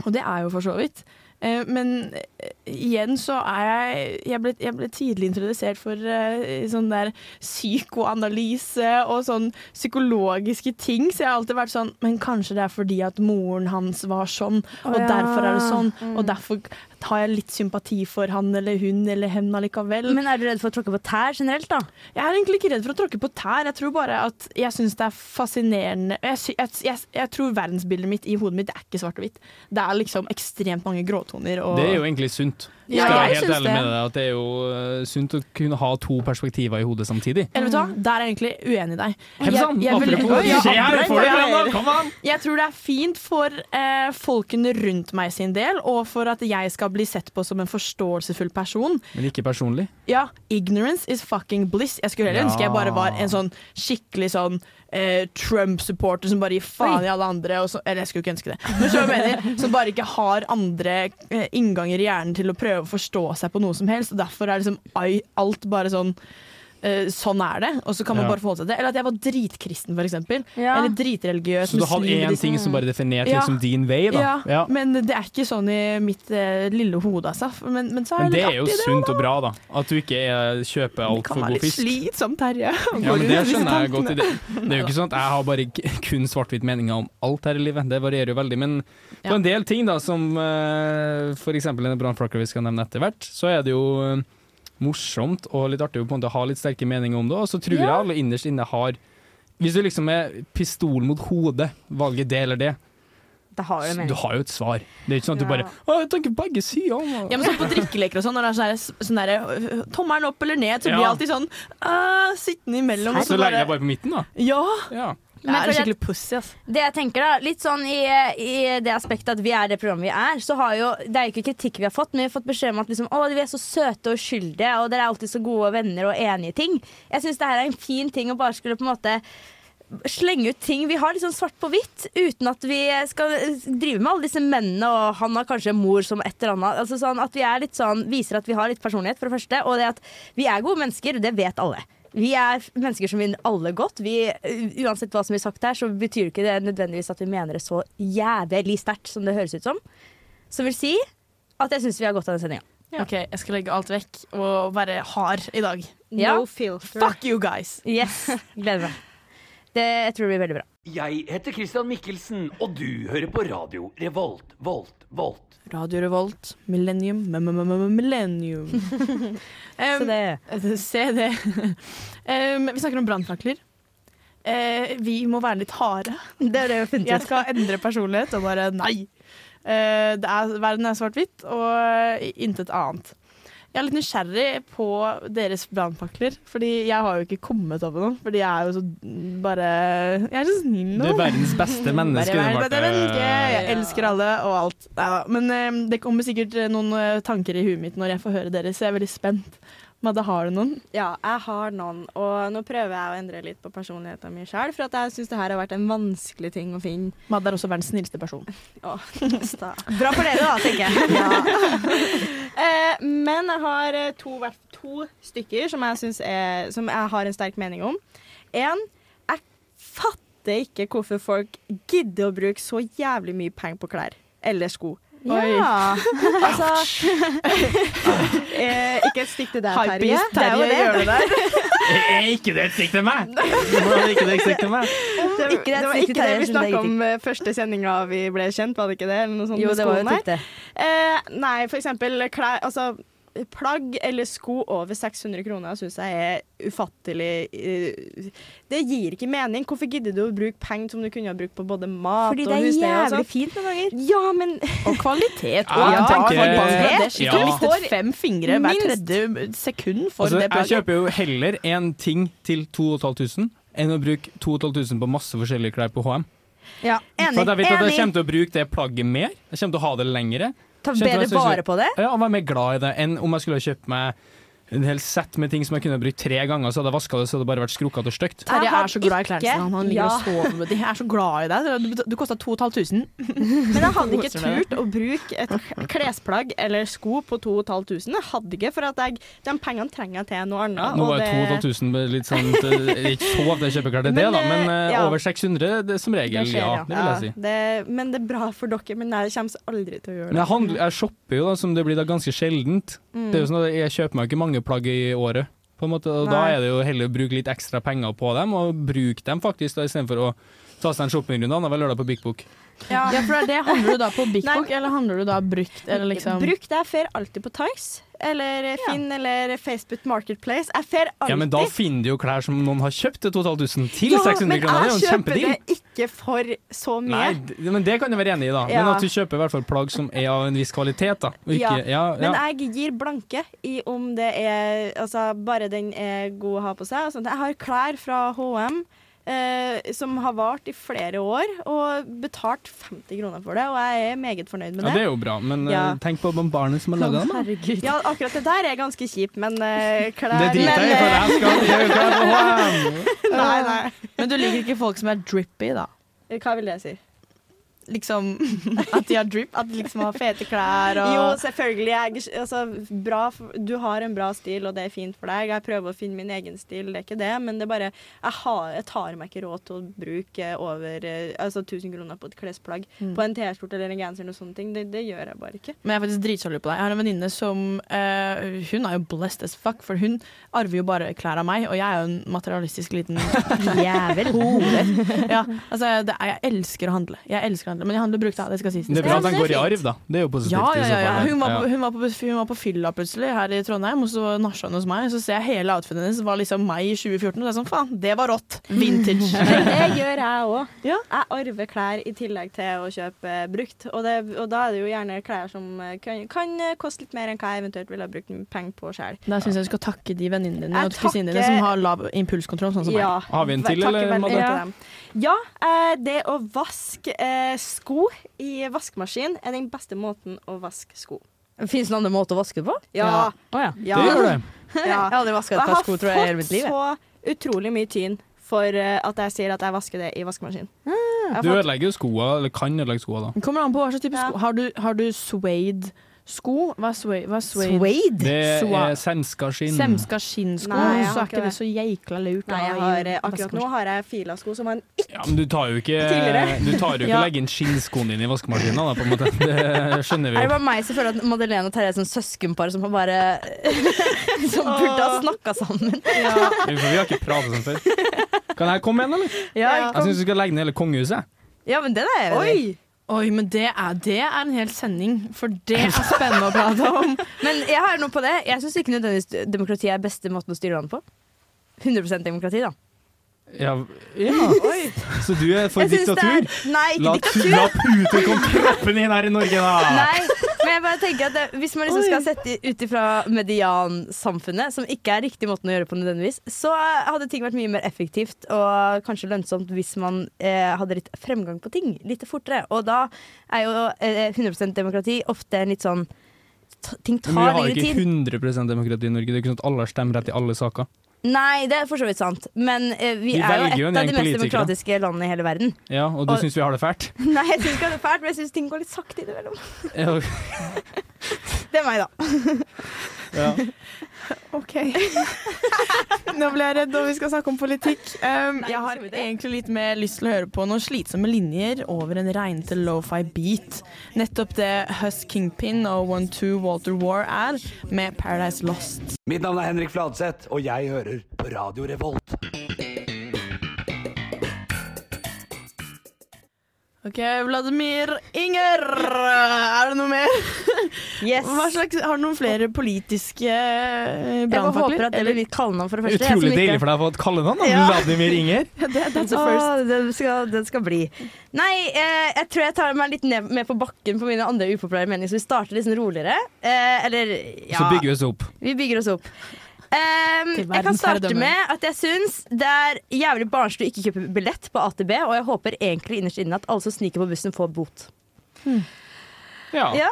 [SPEAKER 1] Og det er jeg jo for så vidt. Eh, men eh, igjen så er jeg Jeg ble, jeg ble tidlig introdusert for eh, sånn der psykoanalyse og sånn psykologiske ting, så jeg har alltid vært sånn Men kanskje det er fordi at moren hans var sånn, og
[SPEAKER 2] ja. Mm.
[SPEAKER 1] derfor er det sånn, og derfor har jeg litt sympati for han eller hun eller hen allikevel.
[SPEAKER 2] Men er du redd for å tråkke på tær generelt, da?
[SPEAKER 1] Jeg er egentlig ikke redd for å tråkke på tær. Jeg tror bare at jeg syns det er fascinerende jeg, sy jeg, jeg, jeg tror verdensbildet mitt i hodet mitt det er ikke svart og hvitt. Det er liksom ekstremt mange gråtoner. Og
[SPEAKER 3] Det er jo egentlig sunt.
[SPEAKER 1] Ja,
[SPEAKER 3] Skal
[SPEAKER 1] jeg
[SPEAKER 3] være helt
[SPEAKER 1] syns
[SPEAKER 3] ærlig
[SPEAKER 1] det.
[SPEAKER 3] med deg at det er jo eh, sunt å kunne ha to perspektiver i hodet samtidig.
[SPEAKER 1] Eller vet du hva, der er jeg egentlig uenig i deg.
[SPEAKER 3] Hemsan,
[SPEAKER 1] jeg vil-
[SPEAKER 3] apropos,
[SPEAKER 1] Ja,
[SPEAKER 3] se her,
[SPEAKER 1] apropos-
[SPEAKER 3] får du den da, kom an!
[SPEAKER 1] Jeg tror det er fint for eh, folkene rundt meg sin del, og for at jeg skal bli sett på som en forståelsesfull person.
[SPEAKER 3] Men ikke personlig.
[SPEAKER 1] Ja, ignorance is fucking bliss. Jeg skulle heller
[SPEAKER 3] Ja.
[SPEAKER 1] ønske jeg bare var en sånn skikkelig sånn eh, Trump-supporter som bare gir faen i alle andre. Og så, eller jeg skulle ikke ønske det, men så jeg mener Som bare ikke har andre eh, innganger i hjernen til å prøve å forstå seg på noe som helst. Og derfor er liksom ai- alt bare sånn eh, Sånn er det, og så kan man
[SPEAKER 3] Ja.
[SPEAKER 1] bare forholde seg til det. Eller at jeg var dritkristen, for eksempel.
[SPEAKER 2] Ja.
[SPEAKER 1] Eller dritreligiøs.
[SPEAKER 3] Så du hadde
[SPEAKER 1] muslim,
[SPEAKER 3] én
[SPEAKER 1] liksom.
[SPEAKER 3] ting som bare definerte
[SPEAKER 1] Ja.
[SPEAKER 3] liksom din vei, da.
[SPEAKER 1] Ja,
[SPEAKER 3] Ja.
[SPEAKER 1] men det er ikke sånn i mitt eh, lille hode, altså. Men, men så er
[SPEAKER 3] Men det
[SPEAKER 1] det
[SPEAKER 3] er
[SPEAKER 1] litt
[SPEAKER 3] jo
[SPEAKER 1] artig, det.
[SPEAKER 3] sunt og bra, da. At du ikke eh, kjøper
[SPEAKER 1] Det kan være
[SPEAKER 3] altfor god
[SPEAKER 1] litt
[SPEAKER 3] fisk.
[SPEAKER 1] slitsomt, Terje. å gå
[SPEAKER 3] Ja, men
[SPEAKER 1] rundt
[SPEAKER 3] Det
[SPEAKER 1] med disse
[SPEAKER 3] skjønner jeg
[SPEAKER 1] tankene.
[SPEAKER 3] godt. i Det, det er jo ikke sånn at jeg har bare k- kun svart-hvitt meninger om alt her i livet, det varierer jo veldig. Men på
[SPEAKER 1] Ja.
[SPEAKER 3] en del ting, da, som eh, for f.eks. en brannflakker vi skal nevne etter hvert, så er det jo eh, morsomt og litt artig å på en måte ha litt sterke meninger om det. Og så tror jeg alle innerst inne har Hvis du liksom er pistol mot hodet, valget det eller det,
[SPEAKER 2] Da har du
[SPEAKER 3] så
[SPEAKER 2] en
[SPEAKER 3] du
[SPEAKER 2] mening.
[SPEAKER 3] har jo et svar. Det er ikke sånn at du
[SPEAKER 4] Ja.
[SPEAKER 3] bare Å, jeg tenker begge sider. om»,
[SPEAKER 1] Ja, men sånn På drikkeleker og sånn, når det er sånn der- sånn derre tommelen opp eller ned, så blir jeg
[SPEAKER 3] Ja.
[SPEAKER 1] alltid sånn «Ah, sittende imellom. og
[SPEAKER 3] Så legger jeg bare på midten, da.
[SPEAKER 1] Ja!
[SPEAKER 3] Ja.
[SPEAKER 2] Men
[SPEAKER 1] Jeg er
[SPEAKER 2] fordi at-
[SPEAKER 1] skikkelig pussy, altså. ass.
[SPEAKER 2] Det jeg tenker da, litt sånn i, i det aspektet at vi er det programmet vi er, så har jo, det er jo ikke kritikk vi har fått, men vi har fått beskjed om at liksom, å, vi er så søte og skyldige, og dere er alltid så gode venner og enige i ting. Jeg syns det her er en fin ting å bare skulle på en måte slenge ut ting. Vi har liksom svart på hvitt, uten at vi skal drive med alle disse mennene, og han har kanskje en mor som et eller annet. Altså sånn at vi er litt sånn, viser at vi har litt personlighet, for det første, og det at vi er gode mennesker, det vet alle. Vi er mennesker som vil alle godt. Vi, eh, uansett hva som blir sagt her, så betyr ikke det nødvendigvis at vi mener det så jævlig sterkt som det høres ut som. Som vil si at jeg syns vi har godt av den sendinga.
[SPEAKER 1] OK, jeg skal legge alt vekk og være hard i dag.
[SPEAKER 2] Ja.
[SPEAKER 4] No filter.
[SPEAKER 1] Fuck you guys!
[SPEAKER 2] Yes, gleder meg. Det, jeg tror det blir veldig bra.
[SPEAKER 7] Jeg heter Christian Mikkelsen, og du hører på radio Revolt, Volt, Volt.
[SPEAKER 1] Radio Revolt, Millennium, m-m-m-millennium.
[SPEAKER 2] Så
[SPEAKER 1] um,
[SPEAKER 2] det,
[SPEAKER 1] Se det. um, vi snakker om brannfakler. Eh, vi må være litt harde.
[SPEAKER 2] det er det vi har funnet
[SPEAKER 1] Jeg
[SPEAKER 2] ut.
[SPEAKER 1] skal endre personlighet og bare nei. Eh, det er, verden er svart-hvitt og intet annet. Jeg er litt nysgjerrig på deres brannfakler, Fordi jeg har jo ikke kommet over noen. Fordi jeg er jo så bare Jeg er så snill
[SPEAKER 3] Du
[SPEAKER 1] nå.
[SPEAKER 3] er verdens beste
[SPEAKER 1] Bare
[SPEAKER 3] menneske. du,
[SPEAKER 1] vær-
[SPEAKER 3] Marte.
[SPEAKER 1] det er menneske. Jeg elsker alle og alt. Neida. Men eh, det kommer sikkert eh, noen eh, tanker i huet mitt når jeg får høre dere, så jeg er veldig spent. Madde, har du noen?
[SPEAKER 4] Ja, jeg har noen, og nå prøver jeg å endre litt på personligheten min sjøl, for at jeg syns det her har vært en vanskelig ting å finne.
[SPEAKER 1] Madde er også verdens snilleste person.
[SPEAKER 4] Å, sta.
[SPEAKER 2] Bra for dere, da, tenker jeg.
[SPEAKER 4] eh, men jeg har eh, to, hvert- to stykker som jeg, synes er, som jeg har en sterk mening om. En, jeg fatter ikke hvorfor folk gidder å bruke så jævlig mye penger på klær. Eller sko.
[SPEAKER 1] Oi.
[SPEAKER 4] Altså eh, Ikke et stikk til deg, Terje.
[SPEAKER 1] Hypebeast
[SPEAKER 4] Det er
[SPEAKER 1] Terje
[SPEAKER 4] jo det.
[SPEAKER 1] gjør det der.
[SPEAKER 3] Er ikke det et sikte meg? Hvordan er ikke det et sikte meg?
[SPEAKER 2] Ikke det
[SPEAKER 4] Det, det var
[SPEAKER 2] stikk til Terje,
[SPEAKER 4] ikke det vi
[SPEAKER 2] jeg skjønner
[SPEAKER 4] snakka om eh, første sendinga vi ble kjent, var det ikke det? Eller noe sånt
[SPEAKER 2] Jo,
[SPEAKER 4] med
[SPEAKER 2] det var jo
[SPEAKER 4] skoene.
[SPEAKER 2] tykt, det.
[SPEAKER 4] Eh, nei, for eksempel klær Altså, plagg eller sko over 600 kroner syns jeg er ufattelig eh, Det gir ikke mening. Hvorfor gidder du å bruke penger som du kunne ha brukt på både mat
[SPEAKER 2] Fordi det altså. er
[SPEAKER 4] og husleie og
[SPEAKER 2] jævlig
[SPEAKER 4] sånn?
[SPEAKER 2] fint noen ganger.
[SPEAKER 4] Ja, men
[SPEAKER 1] Og kvalitet.
[SPEAKER 3] Ja, jeg tenker-
[SPEAKER 1] kvalitet.
[SPEAKER 3] Ja.
[SPEAKER 1] Du mistet fem fingre hver
[SPEAKER 4] Minst.
[SPEAKER 1] tredje sekund for
[SPEAKER 3] Altså,
[SPEAKER 1] det
[SPEAKER 3] jeg
[SPEAKER 1] plagget.
[SPEAKER 3] kjøper jo heller én ting til 2500 enn å bruke 2500 på masse forskjellige klær på HM.
[SPEAKER 2] Ja,
[SPEAKER 3] For at jeg vet at jeg
[SPEAKER 2] Enig.
[SPEAKER 3] kommer til å bruke det plagget mer. Jeg kommer til å ha det lengre.
[SPEAKER 2] Ta
[SPEAKER 3] Skjønte hva
[SPEAKER 2] bedre
[SPEAKER 3] jeg synes
[SPEAKER 2] vare på det.
[SPEAKER 3] Ja, og være mer glad i det enn om jeg skulle ha kjøpt meg en hel sett med ting som jeg kunne ha brukt tre ganger, så hadde jeg vaska det, så hadde det bare vært skrukkete og stygt.
[SPEAKER 1] Terje
[SPEAKER 4] Jeg har
[SPEAKER 1] er så glad i klærne
[SPEAKER 4] ikke-
[SPEAKER 1] sine. Han, han ligger
[SPEAKER 4] Ja.
[SPEAKER 1] og sover med dem. Jeg er så glad i deg. Du, du kosta 2500.
[SPEAKER 4] Men jeg hadde ikke
[SPEAKER 1] Koser meg.
[SPEAKER 4] turt å bruke et klesplagg eller sko på 2500. Jeg hadde ikke, for at jeg, de pengene trenger jeg til noe annet.
[SPEAKER 3] Nå
[SPEAKER 4] og
[SPEAKER 3] var
[SPEAKER 4] det-
[SPEAKER 3] 2500 litt sånn det er Ikke så ofte jeg kjøper klær til det,
[SPEAKER 4] Men,
[SPEAKER 3] da, men
[SPEAKER 4] eh,
[SPEAKER 3] eh,
[SPEAKER 4] ja.
[SPEAKER 3] over 600 det, som regel,
[SPEAKER 4] skjer,
[SPEAKER 3] ja. Det vil jeg si.
[SPEAKER 4] Ja, det, men det er bra for dere, men jeg kommer aldri til å gjøre
[SPEAKER 3] Men
[SPEAKER 4] det.
[SPEAKER 3] jeg, handler, jeg shopper jo, da, som det blir da ganske sjeldent. Det er
[SPEAKER 4] Mm.
[SPEAKER 3] jo sånn at Jeg kjøper meg ikke mange plagg i året, på en måte, og da
[SPEAKER 4] Nei.
[SPEAKER 3] er det jo heller å bruke litt ekstra penger på dem, og bruke dem faktisk, da, istedenfor å ta seg en shoppingrunde annenhver lørdag på Big Book.
[SPEAKER 1] Ja. for det er det. Handler du da på Big
[SPEAKER 4] Nei.
[SPEAKER 1] Book, eller handler du da brukt? Eller liksom
[SPEAKER 4] Bruk det. Jeg fer alltid på Tice eller Finn eller Facebook Marketplace. Jeg fer alltid.
[SPEAKER 3] Ja, men da finner du jo klær som noen har kjøpt til 2500 til
[SPEAKER 4] Ja,
[SPEAKER 3] 600 kroner. Det er jo en
[SPEAKER 4] Men
[SPEAKER 3] kjempedeal.
[SPEAKER 4] jeg kjøper det ikke for så mye.
[SPEAKER 3] Nei, d- men det kan jeg være enig i, da. Men
[SPEAKER 4] Ja.
[SPEAKER 3] at du kjøper i hvert fall plagg som er av en viss kvalitet, da. Og ikke,
[SPEAKER 4] Ja,
[SPEAKER 3] ja, ja.
[SPEAKER 4] Men jeg gir blanke i om det er Altså, bare den er god å ha på seg. og sånt. Jeg har klær fra HM. eh, som har vart i flere år, og betalt 50 kroner for det. Og jeg er meget fornøyd med
[SPEAKER 3] ja, det er jo bra, men eh,
[SPEAKER 4] Ja.
[SPEAKER 3] tenk på barnet som har laga dem. da.
[SPEAKER 2] Herregud.
[SPEAKER 4] Ja, akkurat det der er ganske kjipt, men eh, klær
[SPEAKER 3] Det driter jeg i, for jeg skal gjøre klær på HM!
[SPEAKER 4] for Nei, nei.
[SPEAKER 1] Men du liker ikke folk som er drippy, da?
[SPEAKER 4] eh, Hva vil det si?
[SPEAKER 1] Liksom At de har drip? At de liksom har fete klær og
[SPEAKER 4] Jo, selvfølgelig. Jeg, altså, bra, for- du har en bra stil, og det er fint for deg. Jeg prøver å finne min egen stil, det er ikke det, men det er bare Jeg, har, jeg tar meg ikke råd til å bruke over eh, altså, 1000 kroner på et klesplagg. På en T-skjorte eller en genser eller sånne ting. Det, det gjør jeg bare ikke.
[SPEAKER 1] Men jeg er faktisk dritsjalu på deg. Jeg har en venninne som eh, Hun er jo blessed as fuck, for hun arver jo bare klær av meg, og jeg er jo en materialistisk liten
[SPEAKER 2] Jævel.
[SPEAKER 1] ja, altså, det er, Jeg elsker å handle. Jeg elsker å handle, Men jeg handler brukt, da. Det skal sies.
[SPEAKER 3] Det er bra at den
[SPEAKER 1] Ja,
[SPEAKER 3] går i arv, da. Det er jo positivt.
[SPEAKER 1] Ja,
[SPEAKER 3] i
[SPEAKER 1] ja,
[SPEAKER 3] så
[SPEAKER 1] ja, ja.
[SPEAKER 3] fall.
[SPEAKER 1] Hun, var på,
[SPEAKER 3] Ja.
[SPEAKER 1] hun, var på, hun var på fylla plutselig her i Trondheim, og så nachet hun hos meg. Så ser jeg hele outfiten hennes var liksom meg i 2014, og det er sånn faen, det var rått! Vintage.
[SPEAKER 4] Men det gjør jeg òg.
[SPEAKER 1] Ja.
[SPEAKER 4] Jeg arver klær i tillegg til å kjøpe eh, brukt. Og, det, og da er det jo gjerne klær som eh, kan, kan eh, koste litt mer enn hva jeg eventuelt ville ha brukt penger på sjøl.
[SPEAKER 1] Da syns jeg du skal takke de venninnene dine
[SPEAKER 4] Jeg
[SPEAKER 1] og kusinene dine
[SPEAKER 4] takker-
[SPEAKER 1] som har lav impulskontroll, sånn som meg.
[SPEAKER 4] Ja.
[SPEAKER 3] Har vi en
[SPEAKER 4] Ve-
[SPEAKER 3] til,
[SPEAKER 4] takk
[SPEAKER 3] eller,
[SPEAKER 4] veldig
[SPEAKER 3] Madde?
[SPEAKER 4] til dem. Ja, eh, det å vaske eh, sko i vaskemaskin er den beste måten å vaske sko.
[SPEAKER 2] Fins det noen andre måter å vaske på?
[SPEAKER 4] Ja.
[SPEAKER 2] Å ja.
[SPEAKER 4] ja.
[SPEAKER 3] Det gjør det.
[SPEAKER 4] ja.
[SPEAKER 2] Jeg har aldri vaska
[SPEAKER 4] Jeg
[SPEAKER 2] et par
[SPEAKER 4] har
[SPEAKER 2] sko, tror jeg, i hele
[SPEAKER 4] fått
[SPEAKER 2] mitt liv. jeg.
[SPEAKER 4] så utrolig mye tyn for eh, at jeg sier at jeg vasker det i vaskemaskin. Jeg har
[SPEAKER 3] Du
[SPEAKER 4] fått-
[SPEAKER 3] ødelegger jo skoa, eller kan ødelegge skoa, da.
[SPEAKER 1] Det kommer an på hva slags type
[SPEAKER 4] Ja.
[SPEAKER 1] sko. Har du, har du suede Sko? Hva er suede? Hva er suede?
[SPEAKER 2] Suede?
[SPEAKER 3] Det
[SPEAKER 1] Swa-
[SPEAKER 3] er semska skinn.
[SPEAKER 1] Semska skinnsko,
[SPEAKER 4] Nei, jeg
[SPEAKER 1] så
[SPEAKER 4] har
[SPEAKER 1] er
[SPEAKER 4] ikke
[SPEAKER 1] ikke det så jækla lurt. å
[SPEAKER 4] Nei, jeg
[SPEAKER 1] ha i
[SPEAKER 4] har, eh, akkurat nå
[SPEAKER 1] vaskemaskinen.
[SPEAKER 4] har jeg fila sko som han ikke
[SPEAKER 3] Ja, men du tar jo ikke,
[SPEAKER 4] Tidligere.
[SPEAKER 3] du tar jo ikke
[SPEAKER 1] Ja.
[SPEAKER 3] legge inn skinnskoene dine i vaskemaskinen, da, på en måte. Det skjønner vi
[SPEAKER 2] Er det
[SPEAKER 3] jo.
[SPEAKER 2] bare meg som føler at Madeleine og Terje er sånn søskenpar som har bare Som burde ha snakka sammen?
[SPEAKER 3] For vi har ikke pratet sånn før. Kan jeg komme igjen, eller?
[SPEAKER 2] Ja,
[SPEAKER 3] Jeg syns du skal legge ned hele kongehuset.
[SPEAKER 2] ja men den er jeg enig i.
[SPEAKER 4] Oi!
[SPEAKER 1] Oi, men det er, det er en hel sending, for det er spennende å prate om.
[SPEAKER 2] Men jeg har noe på det. Jeg syns ikke nødvendigvis demokrati er beste måten å styre landet på. 100 demokrati, da.
[SPEAKER 3] Ja, ja. Så du er for
[SPEAKER 2] Jeg synes det er-
[SPEAKER 3] diktatur?
[SPEAKER 2] Nei,
[SPEAKER 3] La,
[SPEAKER 2] ikke
[SPEAKER 3] tu- la Putin komme troppen inn her i Norge, da!
[SPEAKER 2] Nei, men jeg bare tenker at det, Hvis man liksom skal sette ut ifra mediansamfunnet, som ikke er riktig måten å gjøre på nødvendigvis, så hadde ting vært mye mer effektivt og kanskje lønnsomt hvis man eh, hadde litt fremgang på ting litt fortere. Og da er jo eh, 100 demokrati ofte en litt sånn t- Ting
[SPEAKER 3] Men vi
[SPEAKER 2] tar
[SPEAKER 3] har jo
[SPEAKER 2] lengre
[SPEAKER 3] ikke
[SPEAKER 2] tid.
[SPEAKER 3] 100 demokrati i Norge. Det er ikke sånn at alle har stemmerett i alle saker.
[SPEAKER 2] Nei, det er for så vidt sant, men eh, vi,
[SPEAKER 3] Vi
[SPEAKER 2] er
[SPEAKER 3] velger
[SPEAKER 2] jo
[SPEAKER 3] jo
[SPEAKER 2] et
[SPEAKER 3] en
[SPEAKER 2] av
[SPEAKER 3] gjeng
[SPEAKER 2] de mest
[SPEAKER 3] politikere.
[SPEAKER 2] demokratiske landene i hele verden.
[SPEAKER 3] Ja, Og du
[SPEAKER 2] Og-
[SPEAKER 3] syns vi har det fælt?
[SPEAKER 2] Nei, jeg syns ikke det er fælt, men jeg syns ting går litt sakte innimellom.
[SPEAKER 3] Ja.
[SPEAKER 2] Det er meg, da.
[SPEAKER 3] Ja.
[SPEAKER 1] Ok. Nå ble jeg redd, og vi skal snakke om politikk. Um, jeg har
[SPEAKER 2] skal vi det?
[SPEAKER 1] egentlig litt mer lyst til å høre på noen slitsomme linjer over en regnete lo-fi beat. Nettopp det Hus Kingpin og One Two Walter War er, med Paradise Lost.
[SPEAKER 7] Mitt navn er Henrik Fladseth, og jeg hører på Radio Revolt.
[SPEAKER 1] OK, Vladimir Inger, er det noe mer?
[SPEAKER 2] Yes.
[SPEAKER 1] Hva slags, har du noen flere politiske eh,
[SPEAKER 2] Jeg bare
[SPEAKER 1] brannfakler?
[SPEAKER 2] håper at det blir mitt kallenavn for det første. jeg som
[SPEAKER 3] Utrolig
[SPEAKER 2] ikke-
[SPEAKER 3] deilig for deg å få et kallenavn, da.
[SPEAKER 2] Ja.
[SPEAKER 3] Vladimir Inger.
[SPEAKER 1] Eller- That's a first.
[SPEAKER 2] Åh, den, skal, den skal bli. Nei, eh, jeg tror jeg tar meg litt ned med på bakken på mine andre upopulære meninger, så vi starter litt sånn roligere. Eh, eller ja,
[SPEAKER 3] Så bygger vi oss opp.
[SPEAKER 2] vi bygger oss opp. Ehm,
[SPEAKER 1] Til
[SPEAKER 2] jeg kan starte
[SPEAKER 1] verdensherredømme.
[SPEAKER 2] med at jeg syns det er jævlig barnslig å ikke kjøpe billett på AtB, og jeg håper egentlig innerst inne at alle som sniker på bussen, får bot.
[SPEAKER 3] Ja.
[SPEAKER 2] Ja.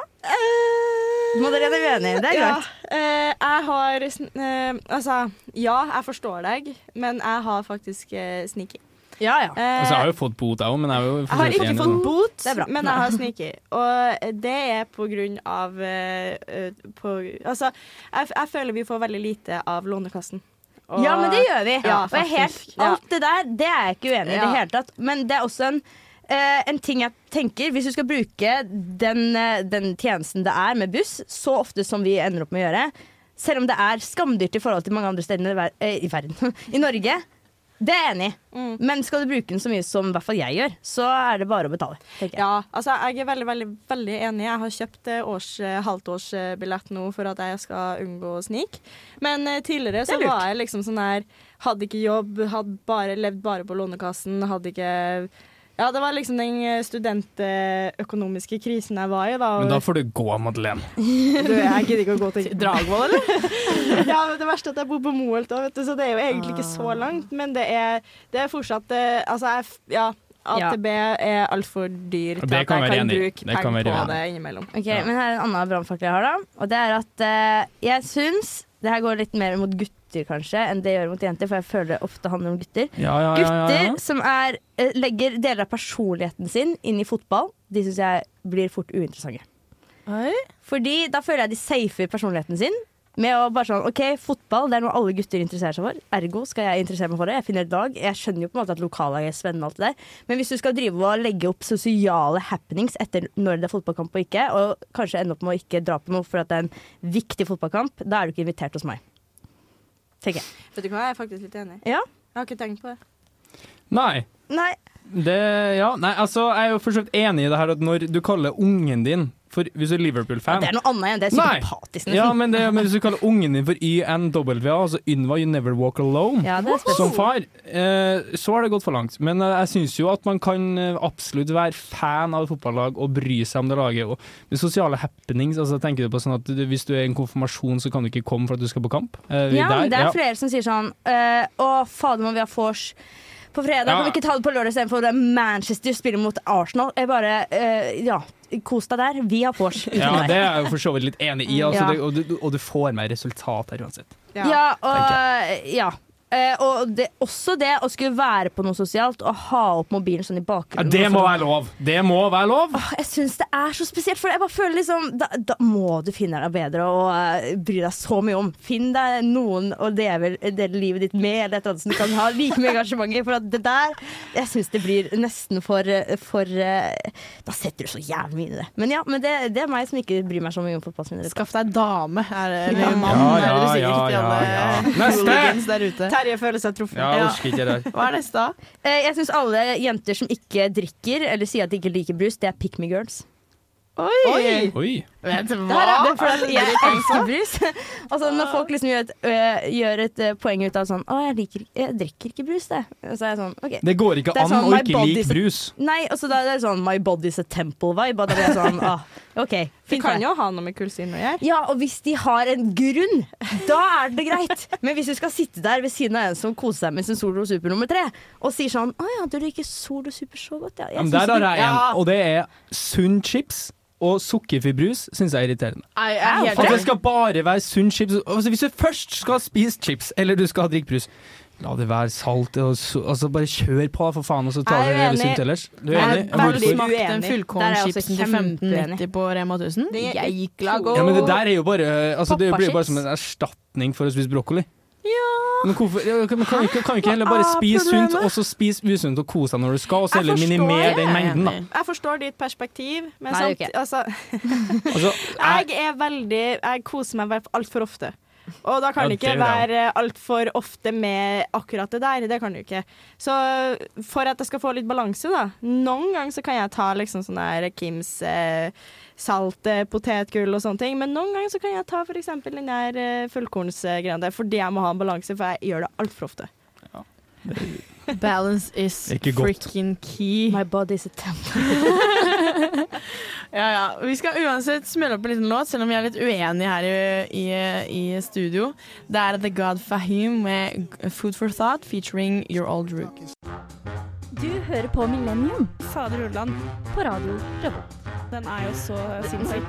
[SPEAKER 2] Madeleine er uenig. Det er
[SPEAKER 4] eh, Ja,
[SPEAKER 2] greit.
[SPEAKER 4] eh, jeg har sn- eh, Altså, ja, jeg forstår deg, men jeg har faktisk eh, sniking.
[SPEAKER 2] Ja, ja.
[SPEAKER 4] Eh,
[SPEAKER 3] Altså, jeg har jo fått bot, jeg òg, men jeg er jo
[SPEAKER 4] jeg har ikke fått bot,
[SPEAKER 2] Det er bra.
[SPEAKER 4] men jeg har sniking. Og det er på grunn av eh, eh, på, Altså, jeg, f- jeg føler vi får veldig lite av Lånekassen. Og-
[SPEAKER 2] Ja, men det gjør vi.
[SPEAKER 4] Ja,
[SPEAKER 2] og jeg er helt,
[SPEAKER 4] faktisk. Ja.
[SPEAKER 2] alt det der det er jeg ikke uenig i i
[SPEAKER 4] Ja.
[SPEAKER 2] det hele tatt. Men det er også en, eh, en ting jeg tenker Hvis du skal bruke den, eh, den tjenesten det er med buss, så ofte som vi ender opp med å gjøre, selv om det er skamdyrt i forhold til mange andre steder i, ver eh, i verden I Norge. Det er jeg enig i.
[SPEAKER 4] Mm.
[SPEAKER 2] Men skal du bruke den så mye som i hvert fall jeg gjør, så er det bare å betale. tenker jeg.
[SPEAKER 4] Ja, altså jeg er veldig, veldig, veldig enig. Jeg har kjøpt eh, års, eh, halvtårsbillett nå for at jeg skal unngå snik. Men eh, tidligere så var jeg liksom sånn her Hadde ikke jobb, hadde bare, levd bare på Lånekassen, hadde ikke Ja, det var liksom den eh, studentøkonomiske krisen jeg var i, da.
[SPEAKER 3] Men da får du gå, Madeleine.
[SPEAKER 4] du, jeg gidder ikke å gå til
[SPEAKER 1] Dragvoll, eller?
[SPEAKER 4] Ja, men det verste er at jeg bor på Moholt òg, vet du, så det er jo egentlig ikke
[SPEAKER 2] Ah.
[SPEAKER 4] så langt. Men det er, det er fortsatt eh, Altså, jeg, f- ja.
[SPEAKER 2] Ja.
[SPEAKER 4] AtB er altfor dyr
[SPEAKER 3] Og
[SPEAKER 4] til
[SPEAKER 3] det
[SPEAKER 4] at
[SPEAKER 3] kan
[SPEAKER 4] jeg
[SPEAKER 3] være
[SPEAKER 4] kan
[SPEAKER 3] enig i.
[SPEAKER 4] bruke
[SPEAKER 3] Det kan
[SPEAKER 4] penger
[SPEAKER 3] være
[SPEAKER 4] på
[SPEAKER 3] enig i.
[SPEAKER 4] det innimellom.
[SPEAKER 2] Ok,
[SPEAKER 3] Ja.
[SPEAKER 2] Men her er en annen brannfakkel jeg har, da. Og det er at eh, jeg syns Det her går litt mer mot gutter, kanskje, enn det gjør mot jenter, for jeg føler det ofte handler om gutter.
[SPEAKER 3] Ja, ja, ja, ja, ja.
[SPEAKER 2] Gutter som er, eh, legger deler av personligheten sin inn i fotball, de syns jeg blir fort uinteressante. Fordi da føler jeg de safer personligheten sin. Med å bare sånn, ok, Fotball det er noe alle gutter interesserer seg for. Ergo skal jeg interessere meg for det. Jeg finner et lag. Jeg skjønner jo på en måte at lokallaget er spennende. og alt det der Men hvis du skal drive og legge opp sosiale happenings etter når det er fotballkamp og ikke, og kanskje ende opp med å ikke dra på noe for at det er en viktig fotballkamp, da er du ikke invitert hos meg. Tenker jeg.
[SPEAKER 4] Vet du hva, jeg er faktisk litt enig.
[SPEAKER 2] Ja?
[SPEAKER 4] Jeg har ikke tenkt på det.
[SPEAKER 3] Nei.
[SPEAKER 2] Nei.
[SPEAKER 3] Det, ja. Nei, altså, jeg er jo for så vidt enig i det her at når du kaller ungen din for Hvis du er Liverpool-fan
[SPEAKER 2] Det er noe annet enn det. er
[SPEAKER 3] Nei.
[SPEAKER 2] Psykopatisk, nesten.
[SPEAKER 3] ja, men, det, men hvis du kaller ungen din for YNW, altså Ynva You Never Walk Alone,
[SPEAKER 2] Ja, det er spesielt.
[SPEAKER 3] som far, eh, så har det gått for langt. Men eh, jeg syns jo at man kan eh, absolutt være fan av et fotballag og bry seg om det laget. Og med sosiale happenings, altså tenker du på sånn at du, hvis du er i en konfirmasjon, så kan du ikke komme for at du skal på kamp? Eh, vi
[SPEAKER 2] Ja,
[SPEAKER 3] der?
[SPEAKER 2] men det er
[SPEAKER 3] Ja.
[SPEAKER 2] flere som sier sånn eh, Å, fader, må vi ha vors på fredag?
[SPEAKER 3] Ja.
[SPEAKER 2] Kan vi ikke ta det på lørdag istedenfor? Det er Manchester spiller mot Arsenal. Jeg bare eh, Ja, kos deg der. Vi har vors. uten
[SPEAKER 3] Ja,
[SPEAKER 2] deg.
[SPEAKER 3] det er jeg jo for så vidt litt enig i, altså,
[SPEAKER 2] Ja.
[SPEAKER 3] det, og, du, og du får mer resultat her uansett.
[SPEAKER 2] Ja, og ja. Eh, og det, også det å skulle være på noe sosialt og ha opp mobilen sånn i
[SPEAKER 3] Ja,
[SPEAKER 2] bakgrunnen.
[SPEAKER 3] det må
[SPEAKER 2] Og så-
[SPEAKER 3] være lov! Det må være lov!
[SPEAKER 2] Åh, Jeg syns det er så spesielt, for jeg bare føler liksom Da, da må du finne deg bedre og eh, bry deg så mye om. Finn deg noen å dele, dele livet ditt med, eller et eller annet som du kan ha like mye engasjement i. For at det der Jeg syns det blir nesten for, eh, for eh, Da setter du så jævlig mye i det. Men ja, men det, det er meg som ikke bryr meg så mye om fotballspillere.
[SPEAKER 1] Skaff deg dame, er det, eller
[SPEAKER 2] Ja.
[SPEAKER 1] mann, er det du sier til alle
[SPEAKER 3] Neste!
[SPEAKER 1] hooligans der ute.
[SPEAKER 4] Terje føler seg truffet.
[SPEAKER 3] Ja, jeg orker ikke det der.
[SPEAKER 1] Hva er neste, da?
[SPEAKER 2] Eh, Jeg syns alle jenter som ikke drikker, eller sier at de ikke liker brus, det er pick me girls.
[SPEAKER 1] Oi!
[SPEAKER 3] Oi.
[SPEAKER 1] Vet du
[SPEAKER 2] Det her er, det er
[SPEAKER 1] hva?
[SPEAKER 2] fordi at jeg elsker brus. Altså Når folk liksom gjør et, øh, gjør et øh, poeng ut av sånn Å, jeg, liker, ikke- jeg drikker ikke brus, det. Og Så er jeg sånn, ok
[SPEAKER 3] Det går ikke
[SPEAKER 2] Det er
[SPEAKER 3] an
[SPEAKER 2] sånn
[SPEAKER 3] å
[SPEAKER 2] my
[SPEAKER 3] ikke
[SPEAKER 2] body
[SPEAKER 3] like
[SPEAKER 2] is-
[SPEAKER 3] brus.
[SPEAKER 2] Nei, og så da er det sånn My body's a temple-vibe. Og da blir jeg sånn ah, OK.
[SPEAKER 4] Det
[SPEAKER 2] Fint.
[SPEAKER 4] kan
[SPEAKER 2] det.
[SPEAKER 4] jo ha noe med kullsyren å gjøre.
[SPEAKER 2] Ja, og hvis de har en grunn, da er det greit. Men hvis du skal sitte der ved siden av en som koser seg med sin Solo Super nummer tre, og sier sånn Å ja, du liker Solo Super så godt, ja. Jeg
[SPEAKER 3] Men
[SPEAKER 2] syns
[SPEAKER 3] der
[SPEAKER 2] det-
[SPEAKER 3] har jeg en,
[SPEAKER 1] Ja.
[SPEAKER 3] og det er sunn chips. Og sukkerfri brus syns jeg er irriterende.
[SPEAKER 1] Nei, jeg er helt
[SPEAKER 3] At det
[SPEAKER 1] enig.
[SPEAKER 3] skal bare være sunn chips altså, Hvis du først skal spise chips, eller du skal drikke brus, la det være salt, og så altså, bare kjør på, for faen, og så
[SPEAKER 2] Jeg
[SPEAKER 3] tar du
[SPEAKER 2] er
[SPEAKER 3] det hele
[SPEAKER 2] uenig.
[SPEAKER 3] sunt ellers. Du er
[SPEAKER 1] Jeg
[SPEAKER 3] enig?
[SPEAKER 1] er
[SPEAKER 3] Ja,
[SPEAKER 1] veldig
[SPEAKER 3] Hvorfor?
[SPEAKER 1] smakt den
[SPEAKER 4] Uenig.
[SPEAKER 1] fullkornchipsen
[SPEAKER 2] Der er jeg
[SPEAKER 1] til
[SPEAKER 2] også
[SPEAKER 1] 15,90 på Rema 1000.
[SPEAKER 4] Det er
[SPEAKER 1] Jeg gikk lag
[SPEAKER 3] Ja, men det der er jo bare altså, Det blir jo bare som en erstatning for å spise brokkoli. Men hvorfor ja, men kan, vi ikke- kan vi ikke heller bare
[SPEAKER 4] Hva er
[SPEAKER 3] spise sunt,
[SPEAKER 4] problemet?
[SPEAKER 3] og så spise usunt og kose deg når du skal, og så
[SPEAKER 4] Jeg
[SPEAKER 3] heller
[SPEAKER 4] forstår
[SPEAKER 3] minimere
[SPEAKER 4] det.
[SPEAKER 3] den mengden, da.
[SPEAKER 4] Jeg forstår ditt perspektiv, men
[SPEAKER 2] Nei,
[SPEAKER 4] samt,
[SPEAKER 2] det er
[SPEAKER 4] altså,
[SPEAKER 3] Altså, jeg,
[SPEAKER 4] jeg er veldig Jeg koser meg altfor ofte. Og da
[SPEAKER 3] Ja,
[SPEAKER 4] kan det ikke
[SPEAKER 3] det da.
[SPEAKER 4] være altfor ofte med akkurat det der. Det kan du ikke. Så for at jeg skal få litt balanse, da Noen ganger så kan jeg ta liksom sånn der Kims eh, salt eh, potetgull og sånne ting, men noen ganger så kan jeg ta f.eks. den der eh, fullkornsgreia der fordi jeg må ha en balanse, for jeg gjør det altfor ofte.
[SPEAKER 1] Balance is
[SPEAKER 3] Ikke godt.
[SPEAKER 1] freaking key.
[SPEAKER 2] My body's a temple.
[SPEAKER 1] Ja, ja. Vi skal uansett smelle opp en liten låt, selv om vi er litt uenige her i, i, i studio. Det er The God Fahim med Food for Thought featuring Your Old Rook.
[SPEAKER 5] Du hører på Millennium
[SPEAKER 8] Fader Ulland,
[SPEAKER 5] på Radio Revolt.
[SPEAKER 8] den er jo så sinnssyk.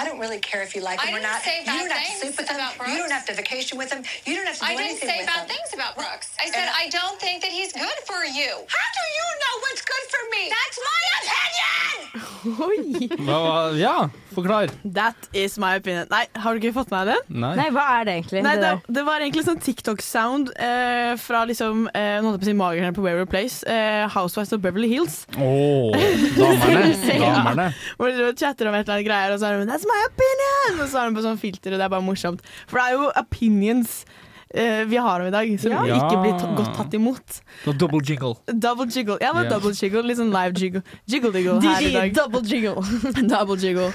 [SPEAKER 9] I don't really care if you like
[SPEAKER 10] I
[SPEAKER 9] them or
[SPEAKER 10] didn't
[SPEAKER 9] not.
[SPEAKER 10] say
[SPEAKER 9] you
[SPEAKER 10] bad
[SPEAKER 9] don't have to
[SPEAKER 10] things
[SPEAKER 9] sleep with them.
[SPEAKER 10] about
[SPEAKER 9] You don't
[SPEAKER 10] Brooks.
[SPEAKER 9] have to vacation with them. You don't have to do
[SPEAKER 10] I didn't
[SPEAKER 9] anything
[SPEAKER 10] say
[SPEAKER 9] with
[SPEAKER 10] bad
[SPEAKER 9] them.
[SPEAKER 10] things about Brooks. I said
[SPEAKER 9] And-
[SPEAKER 10] I don't think that he's good for you.
[SPEAKER 9] How do you know what's good for me?
[SPEAKER 10] That's my opinion.
[SPEAKER 3] hva- ja, forklar.
[SPEAKER 1] That is my opinion. Nei, har du ikke fått med deg den?
[SPEAKER 3] Nei.
[SPEAKER 2] Nei, hva er det egentlig?
[SPEAKER 1] Nei,
[SPEAKER 2] det
[SPEAKER 1] det,
[SPEAKER 2] der?
[SPEAKER 1] det var egentlig sånn TikTok-sound eh, fra liksom eh, Nå holdt jeg på å si magerne på Weaver Place, eh, Housewives of Beverly Hills.
[SPEAKER 3] Ååå, damerne. Damerne.
[SPEAKER 1] Hvor de driver og chatter om et eller annet greier, og så er hun 'That's my opinion!' Og så har hun på sånn filter, og det er bare morsomt. For det er jo opinions eh, vi har om i dag, som
[SPEAKER 3] Ja.
[SPEAKER 1] ikke blir ta godt tatt imot.
[SPEAKER 3] Nå double jingle.
[SPEAKER 1] Double jiggle. Ja, det var
[SPEAKER 3] Ja.
[SPEAKER 1] double jiggle. Litt sånn live jiggle. Jiggle-diggle her i dag.
[SPEAKER 2] double jiggle.
[SPEAKER 1] Double jiggle.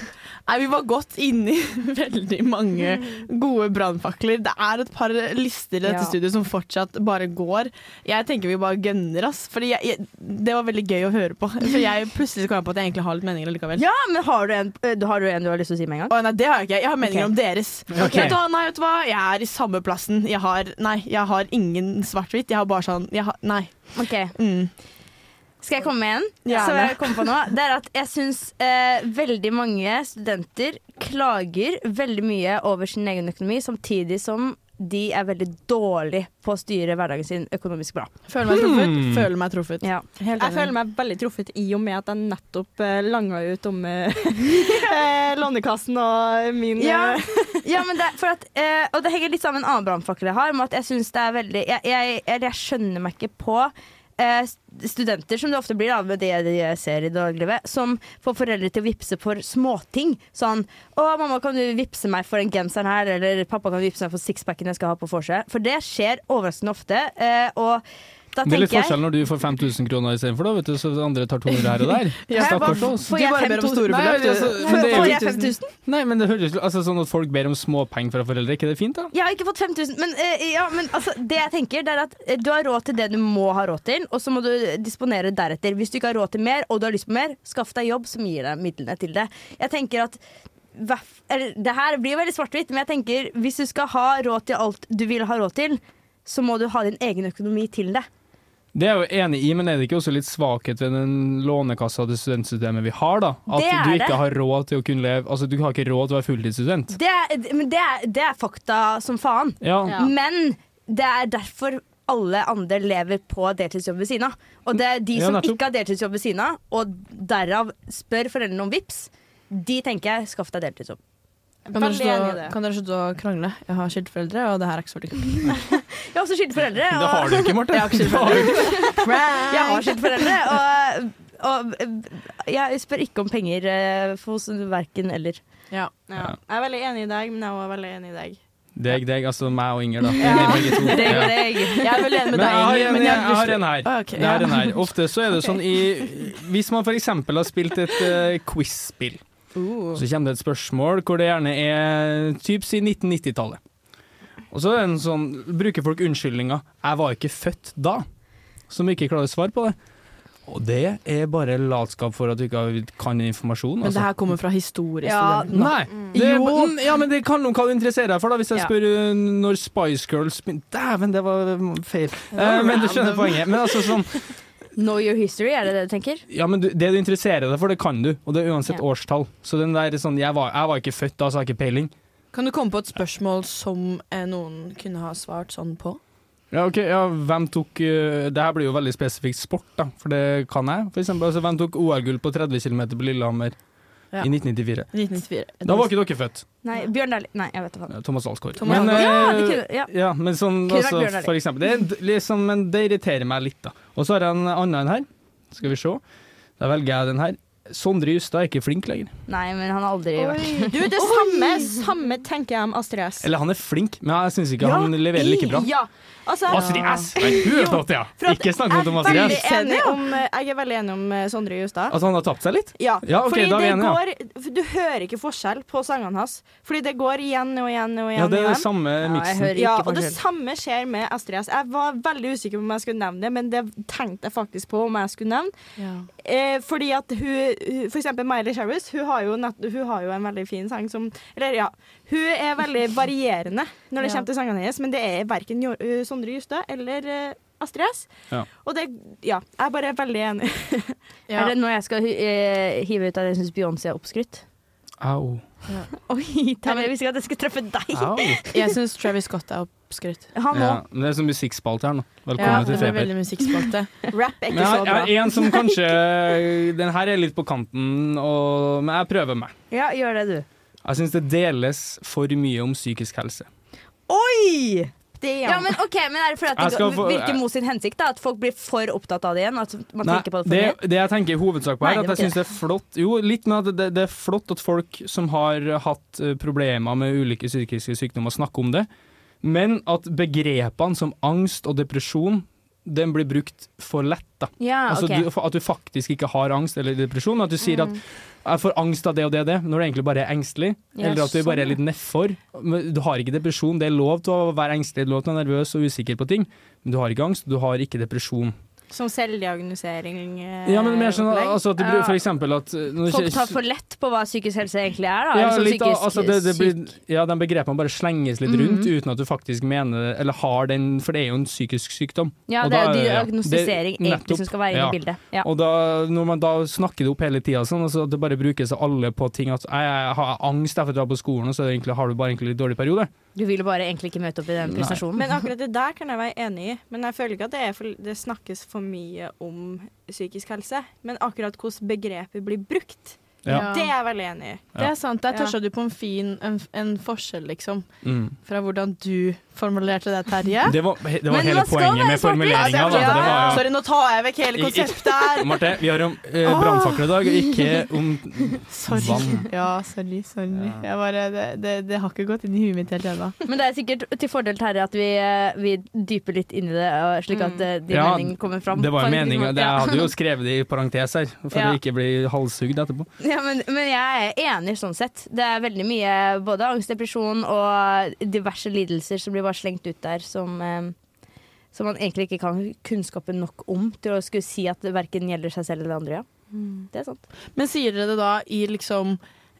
[SPEAKER 1] Nei, vi var godt inni veldig mange gode brannfakler. Det er et par lister i dette
[SPEAKER 2] Ja.
[SPEAKER 1] studioet som fortsatt bare går. Jeg tenker vi bare gønner, ass. Fordi jeg, jeg, det var veldig gøy å høre på. For jeg plutselig så kom jeg på at jeg egentlig har litt meninger likevel.
[SPEAKER 2] Ja, men har du, en, eh, har du en du har lyst til å si med en gang?
[SPEAKER 1] Å, nei, det har jeg ikke. Jeg har meninger
[SPEAKER 2] Ok.
[SPEAKER 1] om deres.
[SPEAKER 3] Ok.
[SPEAKER 1] Vet du hva, nei, vet du hva? Jeg er i samme plassen. Jeg har, nei, jeg har ingen svart-hvitt. Jeg har bare sånn jeg har, Nei.
[SPEAKER 2] Ok.
[SPEAKER 1] Mm.
[SPEAKER 2] Skal jeg komme med en?
[SPEAKER 1] Gjerne.
[SPEAKER 2] Som jeg kom på nå, det er at jeg syns eh, veldig mange studenter klager veldig mye over sin egen økonomi, samtidig som de er veldig dårlig på å styre hverdagen sin økonomisk bra.
[SPEAKER 1] Føler meg truffet. Føler meg truffet.
[SPEAKER 2] Ja.
[SPEAKER 1] Helt
[SPEAKER 4] Jeg føler meg veldig truffet i og med at jeg nettopp eh, langa ut om eh, eh, Lånekassen og min
[SPEAKER 2] Ja,
[SPEAKER 4] eh,
[SPEAKER 2] ja men det, er- for at, eh, og det henger litt sammen med en annen brannfakkel jeg har. Med at jeg synes det er veldig jeg, jeg, eller jeg skjønner meg ikke på eh, st- studenter, som det ofte blir, da, med det de eh, ser i dagliglivet, som får foreldre til å vippse for småting. Sånn 'Å, mamma, kan du vippse meg for den genseren her?' Eller 'Pappa, kan du vippse meg for sixpacken jeg skal ha på vorset?' For det skjer overraskende ofte. Eh, og da
[SPEAKER 3] Det er litt
[SPEAKER 2] tenker jeg
[SPEAKER 3] forskjell når du får 5000 kroner istedenfor, da, vet du, så andre tar 200 her og der.
[SPEAKER 1] Ja,
[SPEAKER 3] Stakkars
[SPEAKER 1] hva-
[SPEAKER 3] oss.
[SPEAKER 1] Du
[SPEAKER 2] Får jeg
[SPEAKER 1] bare ber om
[SPEAKER 2] 5000?
[SPEAKER 1] store
[SPEAKER 3] Nei,
[SPEAKER 1] beløp.
[SPEAKER 3] men
[SPEAKER 1] du.
[SPEAKER 3] altså, for det er
[SPEAKER 2] Får
[SPEAKER 3] jo-
[SPEAKER 2] jeg 5000?
[SPEAKER 3] Nei, men det høres jo altså, sånn at folk ber om småpenger fra foreldre, er ikke det fint, da?
[SPEAKER 2] Jeg har ikke fått 5000, men, eh, ja, men altså, det jeg tenker det er at eh, du har råd til det du må ha råd til, og så må du disponere deretter. Hvis du ikke har råd til mer, og du har lyst på mer, skaff deg jobb som gir deg midlene til det. Jeg tenker at hver- eller, Det her blir veldig svart-hvitt, men jeg tenker hvis du skal ha råd til alt du vil ha råd til, så må du ha din egen økonomi til det.
[SPEAKER 3] Det er jeg jo enig i, men er det ikke også litt svakhet ved den lånekassa til studentsystemet vi har, da? At
[SPEAKER 2] Det er
[SPEAKER 3] du ikke
[SPEAKER 2] det.
[SPEAKER 3] har råd til å kunne leve Altså, du har ikke råd til å være fulltidsstudent.
[SPEAKER 2] Det er, men det er, det er fakta som faen.
[SPEAKER 3] Ja.
[SPEAKER 4] Ja.
[SPEAKER 2] Men det er derfor alle andre lever på deltidsjobb ved siden av. Og det er de
[SPEAKER 3] Ja,
[SPEAKER 2] som
[SPEAKER 3] nettopp.
[SPEAKER 2] ikke har deltidsjobb ved siden av, og derav spør foreldrene om vips, de tenker jeg skaff deg deltidsjobb.
[SPEAKER 1] Kan dere,
[SPEAKER 4] Veldig enig i
[SPEAKER 1] slutte,
[SPEAKER 4] det.
[SPEAKER 1] å- kan dere slutte å krangle? Jeg har skilt foreldre, og det her er ikke så veldig kult.
[SPEAKER 2] Jeg har også skilte foreldre.
[SPEAKER 3] Det
[SPEAKER 2] Og
[SPEAKER 3] har du ikke, Marte. Det har du ikke.
[SPEAKER 2] jeg har skilte foreldre og, og jeg spør ikke om penger eh, hos verken eller.
[SPEAKER 1] Ja.
[SPEAKER 4] Ja. Jeg er veldig enig i deg, men jeg er også veldig enig i deg.
[SPEAKER 3] Deg, deg, altså meg og Inger, da. Enig, begge to.
[SPEAKER 2] Deg og
[SPEAKER 3] Ja.
[SPEAKER 2] deg.
[SPEAKER 1] Jeg er veldig enig med
[SPEAKER 3] Men
[SPEAKER 1] deg,
[SPEAKER 3] jeg har
[SPEAKER 1] Inger,
[SPEAKER 3] en,
[SPEAKER 1] men
[SPEAKER 3] jeg
[SPEAKER 1] jeg
[SPEAKER 3] har en her.
[SPEAKER 1] Ah, ok,
[SPEAKER 3] Jeg har
[SPEAKER 1] ja.
[SPEAKER 3] en her. Ofte så er det sånn i Hvis man f.eks. har spilt et eh, quiz-spill,
[SPEAKER 1] Uh.
[SPEAKER 3] så kommer det et spørsmål hvor det gjerne er typ si 1990-tallet. Og så er det en sånn, bruker folk unnskyldninga 'jeg var ikke født da', som ikke klarer å svare på det. Og det er bare latskap for at du ikke har- kan informasjon.
[SPEAKER 1] Men det
[SPEAKER 3] altså.
[SPEAKER 1] her kommer fra historiestudenten. da.
[SPEAKER 3] Nei. Det,
[SPEAKER 1] Jo.
[SPEAKER 3] mm, ja, men det kan noen hva du interesserer deg for, da, hvis jeg
[SPEAKER 1] Ja.
[SPEAKER 3] spør uh, når Spice Girls begyn- Dæven, det var mm, feil. Eh, men du skjønner poenget. Men altså sånn
[SPEAKER 2] Know your history, er det det du tenker?
[SPEAKER 3] Ja, men du, det du interesserer deg for, det kan du, og det er uansett
[SPEAKER 2] Ja.
[SPEAKER 3] årstall. Så den der sånn jeg var, jeg var ikke født da, så jeg har ikke peiling.
[SPEAKER 1] Kan du komme på et spørsmål som eh, noen kunne ha svart sånn på?
[SPEAKER 3] Ja, ok, ja, hvem tok uh, Det her blir jo veldig spesifikt sport, da, for det kan jeg. For eksempel, altså, hvem tok OL-gull på 30 km på Lillehammer
[SPEAKER 1] Ja.
[SPEAKER 3] i 1994?
[SPEAKER 1] 1994.
[SPEAKER 3] Da var ikke dere født,
[SPEAKER 2] Nei, Bjørn Dæhlie. Nei, jeg vet da faen.
[SPEAKER 3] Ja, Thomas Alsgaard.
[SPEAKER 1] Thomas
[SPEAKER 3] Men,
[SPEAKER 1] Alsgaard.
[SPEAKER 2] Ja,
[SPEAKER 3] eh,
[SPEAKER 2] det kunne, ja.
[SPEAKER 3] Ja, men sånn,
[SPEAKER 2] Kunne vært
[SPEAKER 3] altså,
[SPEAKER 2] Bjørn Dæhlie.
[SPEAKER 3] for eksempel. Det, er d- liksom, men det irriterer meg litt, da. Og så har jeg en annen en her. Skal vi se. Da velger jeg den her. Sondre Justad er ikke flink lenger.
[SPEAKER 2] Nei, men han har aldri vært
[SPEAKER 4] Du, det samme, samme tenker jeg om Astrid S.
[SPEAKER 3] Eller han er flink, men jeg syns ikke han leverer like bra.
[SPEAKER 4] Ja. Altså,
[SPEAKER 3] Astrid S! Nei, hun er flott, ja!
[SPEAKER 4] for at
[SPEAKER 3] Ikke snakk
[SPEAKER 4] jeg
[SPEAKER 3] mot
[SPEAKER 4] er
[SPEAKER 3] om Astrid
[SPEAKER 4] veldig
[SPEAKER 3] S.
[SPEAKER 4] enig om, jeg er veldig enig om eh, Sondre Justad.
[SPEAKER 3] At Altså, han har tapt seg litt?
[SPEAKER 4] Ja,
[SPEAKER 3] Ja, ok,
[SPEAKER 4] fordi
[SPEAKER 3] da er vi
[SPEAKER 4] det
[SPEAKER 3] enige,
[SPEAKER 4] går Du hører ikke forskjell på sangene hans. Fordi det går igjen og igjen og igjen.
[SPEAKER 3] Ja, det er det
[SPEAKER 4] og igjen.
[SPEAKER 3] samme
[SPEAKER 2] jeg
[SPEAKER 3] miksen.
[SPEAKER 2] hører ikke
[SPEAKER 4] Ja, og det
[SPEAKER 2] forskjell.
[SPEAKER 4] samme skjer med Astrid S. Jeg var veldig usikker på om jeg skulle nevne det, men det tenkte jeg faktisk på om jeg skulle nevne. Eh, fordi at hun, hun For eksempel Miley Cyrus, hun har, jo nett, hun har jo en veldig fin sang som Eller ja, hun er veldig varierende når det
[SPEAKER 1] Ja.
[SPEAKER 4] kommer til sangene hennes, men det er verken Jo- eh, Sondre Justad eller eh, Astrid S.
[SPEAKER 3] Ja.
[SPEAKER 4] Og det Ja, jeg er bare veldig enig.
[SPEAKER 1] Ja.
[SPEAKER 2] Er det noe jeg skal eh, hive ut av det jeg syns Beyoncé er oppskrytt?
[SPEAKER 3] Au.
[SPEAKER 2] Oi, Terje, jeg visste ikke at jeg skulle treffe deg.
[SPEAKER 3] Au.
[SPEAKER 1] Jeg syns Travis Scott er oppskrytt.
[SPEAKER 2] Han
[SPEAKER 3] Ja,
[SPEAKER 2] òg.
[SPEAKER 3] men det er sånn musikkspalte her nå.
[SPEAKER 1] Ja,
[SPEAKER 3] Velkommen
[SPEAKER 1] det
[SPEAKER 3] til
[SPEAKER 1] blir
[SPEAKER 3] Feber.
[SPEAKER 1] veldig musikkspalte.
[SPEAKER 4] Rap er
[SPEAKER 3] Men
[SPEAKER 4] ikke så
[SPEAKER 3] jeg,
[SPEAKER 4] bra.
[SPEAKER 3] jeg har en som kanskje Den her er litt på kanten, og, men jeg prøver meg.
[SPEAKER 2] Ja. gjør det, du.
[SPEAKER 3] Jeg syns det deles for mye om psykisk helse.
[SPEAKER 2] Oi!
[SPEAKER 4] Det er
[SPEAKER 2] Ja, men ok, men er det fordi at
[SPEAKER 3] Jeg
[SPEAKER 2] det
[SPEAKER 3] skal
[SPEAKER 2] går-
[SPEAKER 3] få-
[SPEAKER 2] virker mot sin hensikt? da At folk blir for opptatt av det igjen? At man
[SPEAKER 3] Nei,
[SPEAKER 2] tenker på det for
[SPEAKER 3] det,
[SPEAKER 2] mye?
[SPEAKER 3] det jeg tenker i hovedsak på
[SPEAKER 2] Nei,
[SPEAKER 3] her,
[SPEAKER 2] det
[SPEAKER 3] at
[SPEAKER 2] var
[SPEAKER 3] jeg syns det er flott Jo, litt med at det, det er flott at folk som har hatt eh, problemer med ulike psykiske sykdommer, snakker om det, men at begrepene som angst og depresjon den blir brukt for lett. da.
[SPEAKER 2] Ja,
[SPEAKER 3] altså,
[SPEAKER 2] Ah, ok. Mm.
[SPEAKER 3] du, at du faktisk ikke har angst eller depresjon. men At du sier at 'jeg får angst av det og det og det', når du egentlig bare er engstelig.
[SPEAKER 2] Ja,
[SPEAKER 3] eller at du bare
[SPEAKER 2] sånn,
[SPEAKER 3] er litt nedfor. Men Du har ikke depresjon. Det er lov til å være engstelig, det er lov til å være nervøs og usikker på ting, men du har ikke angst, du har ikke depresjon.
[SPEAKER 4] Som sånn selvdiagnosering. eh,
[SPEAKER 3] Ja, men mer sånn
[SPEAKER 4] opplegg.
[SPEAKER 3] altså, at det blir for eksempel at uh, når
[SPEAKER 2] Folk
[SPEAKER 3] det-
[SPEAKER 2] tar for lett på hva psykisk helse egentlig er. da
[SPEAKER 3] ja,
[SPEAKER 2] Eller sånn
[SPEAKER 3] litt,
[SPEAKER 2] psykisk
[SPEAKER 3] altså, det, det blir,
[SPEAKER 2] syk- Mhm.
[SPEAKER 3] ja, de begrepene bare slenges litt rundt uten at du faktisk mener det, eller har den, for det er jo en psykisk sykdom.
[SPEAKER 2] Ja,
[SPEAKER 3] og
[SPEAKER 2] det er jo
[SPEAKER 3] da er det-
[SPEAKER 2] diagnostisering
[SPEAKER 3] det-
[SPEAKER 2] egentlig som
[SPEAKER 3] nettopp,
[SPEAKER 2] skal være inne
[SPEAKER 3] ja.
[SPEAKER 2] i bildet. Ja.
[SPEAKER 3] Og da, når man da snakker det opp hele tida, sånn, altså, at det bare brukes av alle på ting at jeg, jeg har angst derfor at jeg var på skolen, og så er det egentlig, har du bare egentlig litt dårlig periode.
[SPEAKER 2] Du vil jo bare egentlig ikke møte opp i den
[SPEAKER 3] Nei.
[SPEAKER 2] prestasjonen.
[SPEAKER 4] Men akkurat det der kan jeg være enig i. Men jeg føler ikke at det, er for, det snakkes for mye om psykisk helse. Men akkurat hvordan begrepet blir brukt,
[SPEAKER 3] Ja.
[SPEAKER 4] det er jeg veldig enig i.
[SPEAKER 1] Det er sant. Der
[SPEAKER 4] Ja.
[SPEAKER 1] toucha du på en fin en, en forskjell, liksom.
[SPEAKER 3] Mm.
[SPEAKER 1] Fra hvordan du formulerte det, Terje.
[SPEAKER 3] Det var, det var
[SPEAKER 2] Men
[SPEAKER 3] hele
[SPEAKER 2] man skal
[SPEAKER 3] poenget
[SPEAKER 2] være
[SPEAKER 3] med
[SPEAKER 2] smart,
[SPEAKER 3] formuleringa.
[SPEAKER 1] Ja,
[SPEAKER 3] da. Det var-
[SPEAKER 1] Sorry, nå tar jeg vekk
[SPEAKER 3] I-
[SPEAKER 1] hele
[SPEAKER 3] i-
[SPEAKER 1] konseptet her.
[SPEAKER 3] Marte, vi har om eh, brannfakler i dag, og ikke om
[SPEAKER 1] Sorry.
[SPEAKER 3] Vann.
[SPEAKER 1] Ja, sorry. sorry.
[SPEAKER 3] Ja.
[SPEAKER 1] Jeg bare, det, det, det har ikke gått inn i huet mitt helt ennå.
[SPEAKER 2] Men det er sikkert til fordel Terje at vi, eh, vi dyper litt inn i det, og slik at eh, din
[SPEAKER 3] Ja,
[SPEAKER 2] mening kommer fram.
[SPEAKER 3] Det var
[SPEAKER 2] på
[SPEAKER 3] jo
[SPEAKER 2] en
[SPEAKER 3] meningen.
[SPEAKER 2] riktig måte.
[SPEAKER 3] Det- Jeg hadde jo skrevet det i parentes her, for
[SPEAKER 2] Ja.
[SPEAKER 3] å ikke bli halshugd etterpå.
[SPEAKER 2] Ja, men, men jeg er enig sånn sett. Det er veldig mye både angst, depresjon og diverse lidelser som blir bare slengt ut der, som, eh, som man egentlig ikke kan kunnskapen nok om til å skulle si at det verken gjelder seg selv eller andre. Ja. Det er sant.
[SPEAKER 1] Men sier dere det da i liksom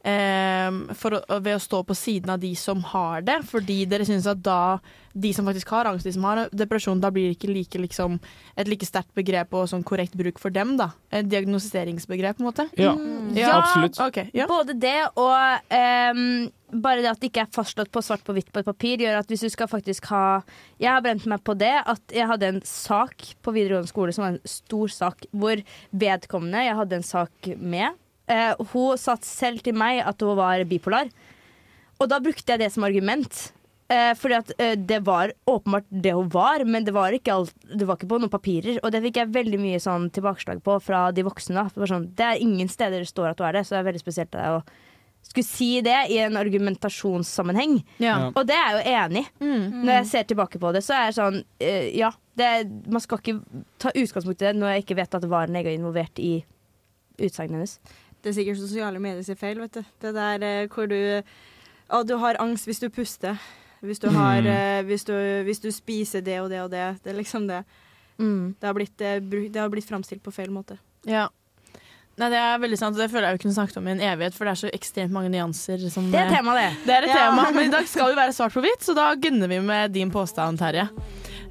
[SPEAKER 1] eh, for å, ved å stå på siden av de som har det, fordi dere syns at da de som faktisk har angst, de som har depresjon, da blir det ikke like, liksom, et like sterkt begrep og sånn korrekt bruk for dem, da. Et diagnostiseringsbegrep, på en måte.
[SPEAKER 3] Ja,
[SPEAKER 1] Ja.
[SPEAKER 3] absolutt.
[SPEAKER 1] Ok, ja.
[SPEAKER 2] Både det og ehm, bare det at det ikke er fastslått på svart på hvitt på et papir, gjør at hvis du skal faktisk ha Jeg har brent meg på det at jeg hadde en sak på videregående skole som var en stor sak, hvor vedkommende jeg hadde en sak med, eh, hun satt selv til meg at hun var bipolar. Og da brukte jeg det som argument. Eh, fordi at eh, det var åpenbart det hun var, men det var, ikke alt, det var ikke på noen papirer. Og det fikk jeg veldig mye sånn tilbakeslag på fra de voksne. da. Det, var sånn, det er ingen steder det står at du er det, så det er veldig spesielt av deg å skulle si det i en argumentasjonssammenheng.
[SPEAKER 3] Ja.
[SPEAKER 2] Og det er jeg jo enig i. Når jeg ser tilbake på det, så er jeg sånn eh, Ja, det, man skal ikke ta utgangspunkt i det når jeg ikke vet at det var en egen involvert i utsagnet hennes.
[SPEAKER 4] Det er sikkert sosiale medier sin feil, vet du. Det der eh, hvor du Å, du har angst hvis du puster. Hvis du, har,
[SPEAKER 3] Mm.
[SPEAKER 4] eh, hvis, du, hvis du spiser det og det og det. Det er liksom det. Det har blitt, eh, bru- det har blitt framstilt på feil måte.
[SPEAKER 1] Ja. Nei, det er veldig sant, og det føler jeg jo kunne snakket om i en evighet, for det er så ekstremt mange nyanser som
[SPEAKER 2] Det
[SPEAKER 1] eh,
[SPEAKER 2] er temaet, det.
[SPEAKER 1] Det er et tema, men i dag skal det være svart på hvitt, så da gunner vi med din påstand, Terje.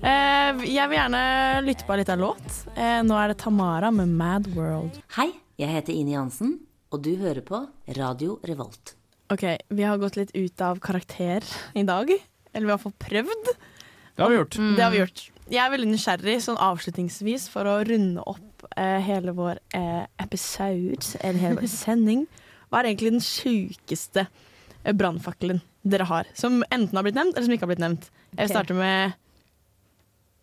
[SPEAKER 1] Eh, jeg vil gjerne lytte på en liten låt. Eh, nå er det Tamara med 'Mad World'.
[SPEAKER 11] Hei, jeg heter Ine Jansen, Hmm? og du hører på Radio Revolt.
[SPEAKER 1] OK, vi har gått litt ut av karakter i dag. Eller vi har fått prøvd.
[SPEAKER 3] Det har vi gjort.
[SPEAKER 1] Det
[SPEAKER 2] Mm.
[SPEAKER 1] har vi gjort. Jeg er veldig nysgjerrig sånn avslutningsvis for å runde opp eh, hele vår eh, episode, eller hele vår sending. Hva er egentlig den sjukeste eh, brannfakkelen dere har? Som enten har blitt nevnt, eller som ikke har blitt nevnt. Jeg vil
[SPEAKER 2] Ok.
[SPEAKER 1] starte med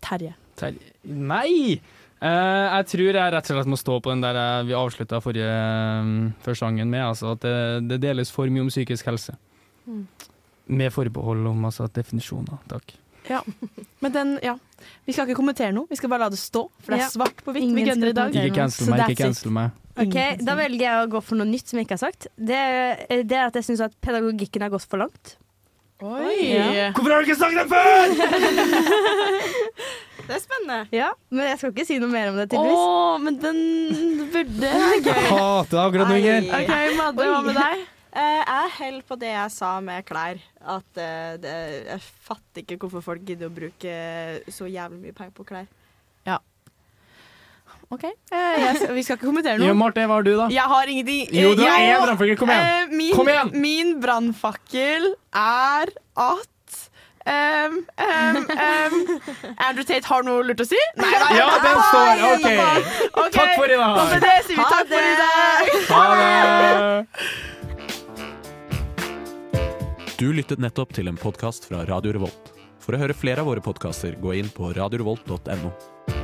[SPEAKER 1] Terje.
[SPEAKER 3] Terje- Nei! Eh, jeg tror jeg rett og slett må stå på den der eh, vi avslutta forrige eh, første sangen med, altså at det, det deles for mye om psykisk helse. Mm. Med forbehold om altså, definisjoner, takk.
[SPEAKER 1] Ja. Men den, ja. Vi skal ikke kommentere noe, vi skal bare la det stå, for det er
[SPEAKER 2] Ja.
[SPEAKER 1] svart på hvitt.
[SPEAKER 2] Ingen
[SPEAKER 1] Vi gønner
[SPEAKER 2] skal
[SPEAKER 1] i dag.
[SPEAKER 3] Ikke
[SPEAKER 1] Så
[SPEAKER 3] cancel meg,
[SPEAKER 1] that's it.
[SPEAKER 3] ikke cancel meg.
[SPEAKER 2] Ok, Da velger jeg å gå for noe nytt som jeg ikke har sagt. Det, det er at jeg syns at pedagogikken har gått for langt.
[SPEAKER 1] Oi!
[SPEAKER 2] Ja.
[SPEAKER 3] Hvorfor har du ikke sagt det før?!
[SPEAKER 4] Det er spennende.
[SPEAKER 2] Ja, Men jeg skal ikke si noe mer om det.
[SPEAKER 1] Å,
[SPEAKER 2] tydeligvis
[SPEAKER 1] men den burde Gøy.
[SPEAKER 3] Hater avgraderinger!
[SPEAKER 1] OK, Madde, hva med deg?
[SPEAKER 4] Eh, jeg holder på det jeg sa med klær. At eh, det, jeg fatter ikke hvorfor folk gidder å bruke så jævlig mye penger på klær.
[SPEAKER 1] OK. Eh, jeg, skal- vi skal ikke kommentere
[SPEAKER 3] Jo,
[SPEAKER 1] noe.
[SPEAKER 3] Marte, hva har du, da?
[SPEAKER 1] Jeg har ingenting
[SPEAKER 3] Jo, du
[SPEAKER 1] Eh,
[SPEAKER 3] har
[SPEAKER 1] jeg-
[SPEAKER 3] én brannfakkel, kom igjen!
[SPEAKER 1] Eh, Min,
[SPEAKER 3] Kom igjen!
[SPEAKER 1] min brannfakkel er at em, em, em, Andrew Tate har noe lurt å si? Nei, nei.
[SPEAKER 3] Ja, den står! OK!
[SPEAKER 1] Ok,
[SPEAKER 3] Takk for i
[SPEAKER 1] Og med
[SPEAKER 3] dag!
[SPEAKER 1] det sier vi takk for i dag.
[SPEAKER 3] Ha det!
[SPEAKER 12] Du lyttet nettopp til en podkast fra Radio Revolt. For å høre flere av våre podkaster, gå inn på radiorevolt.no.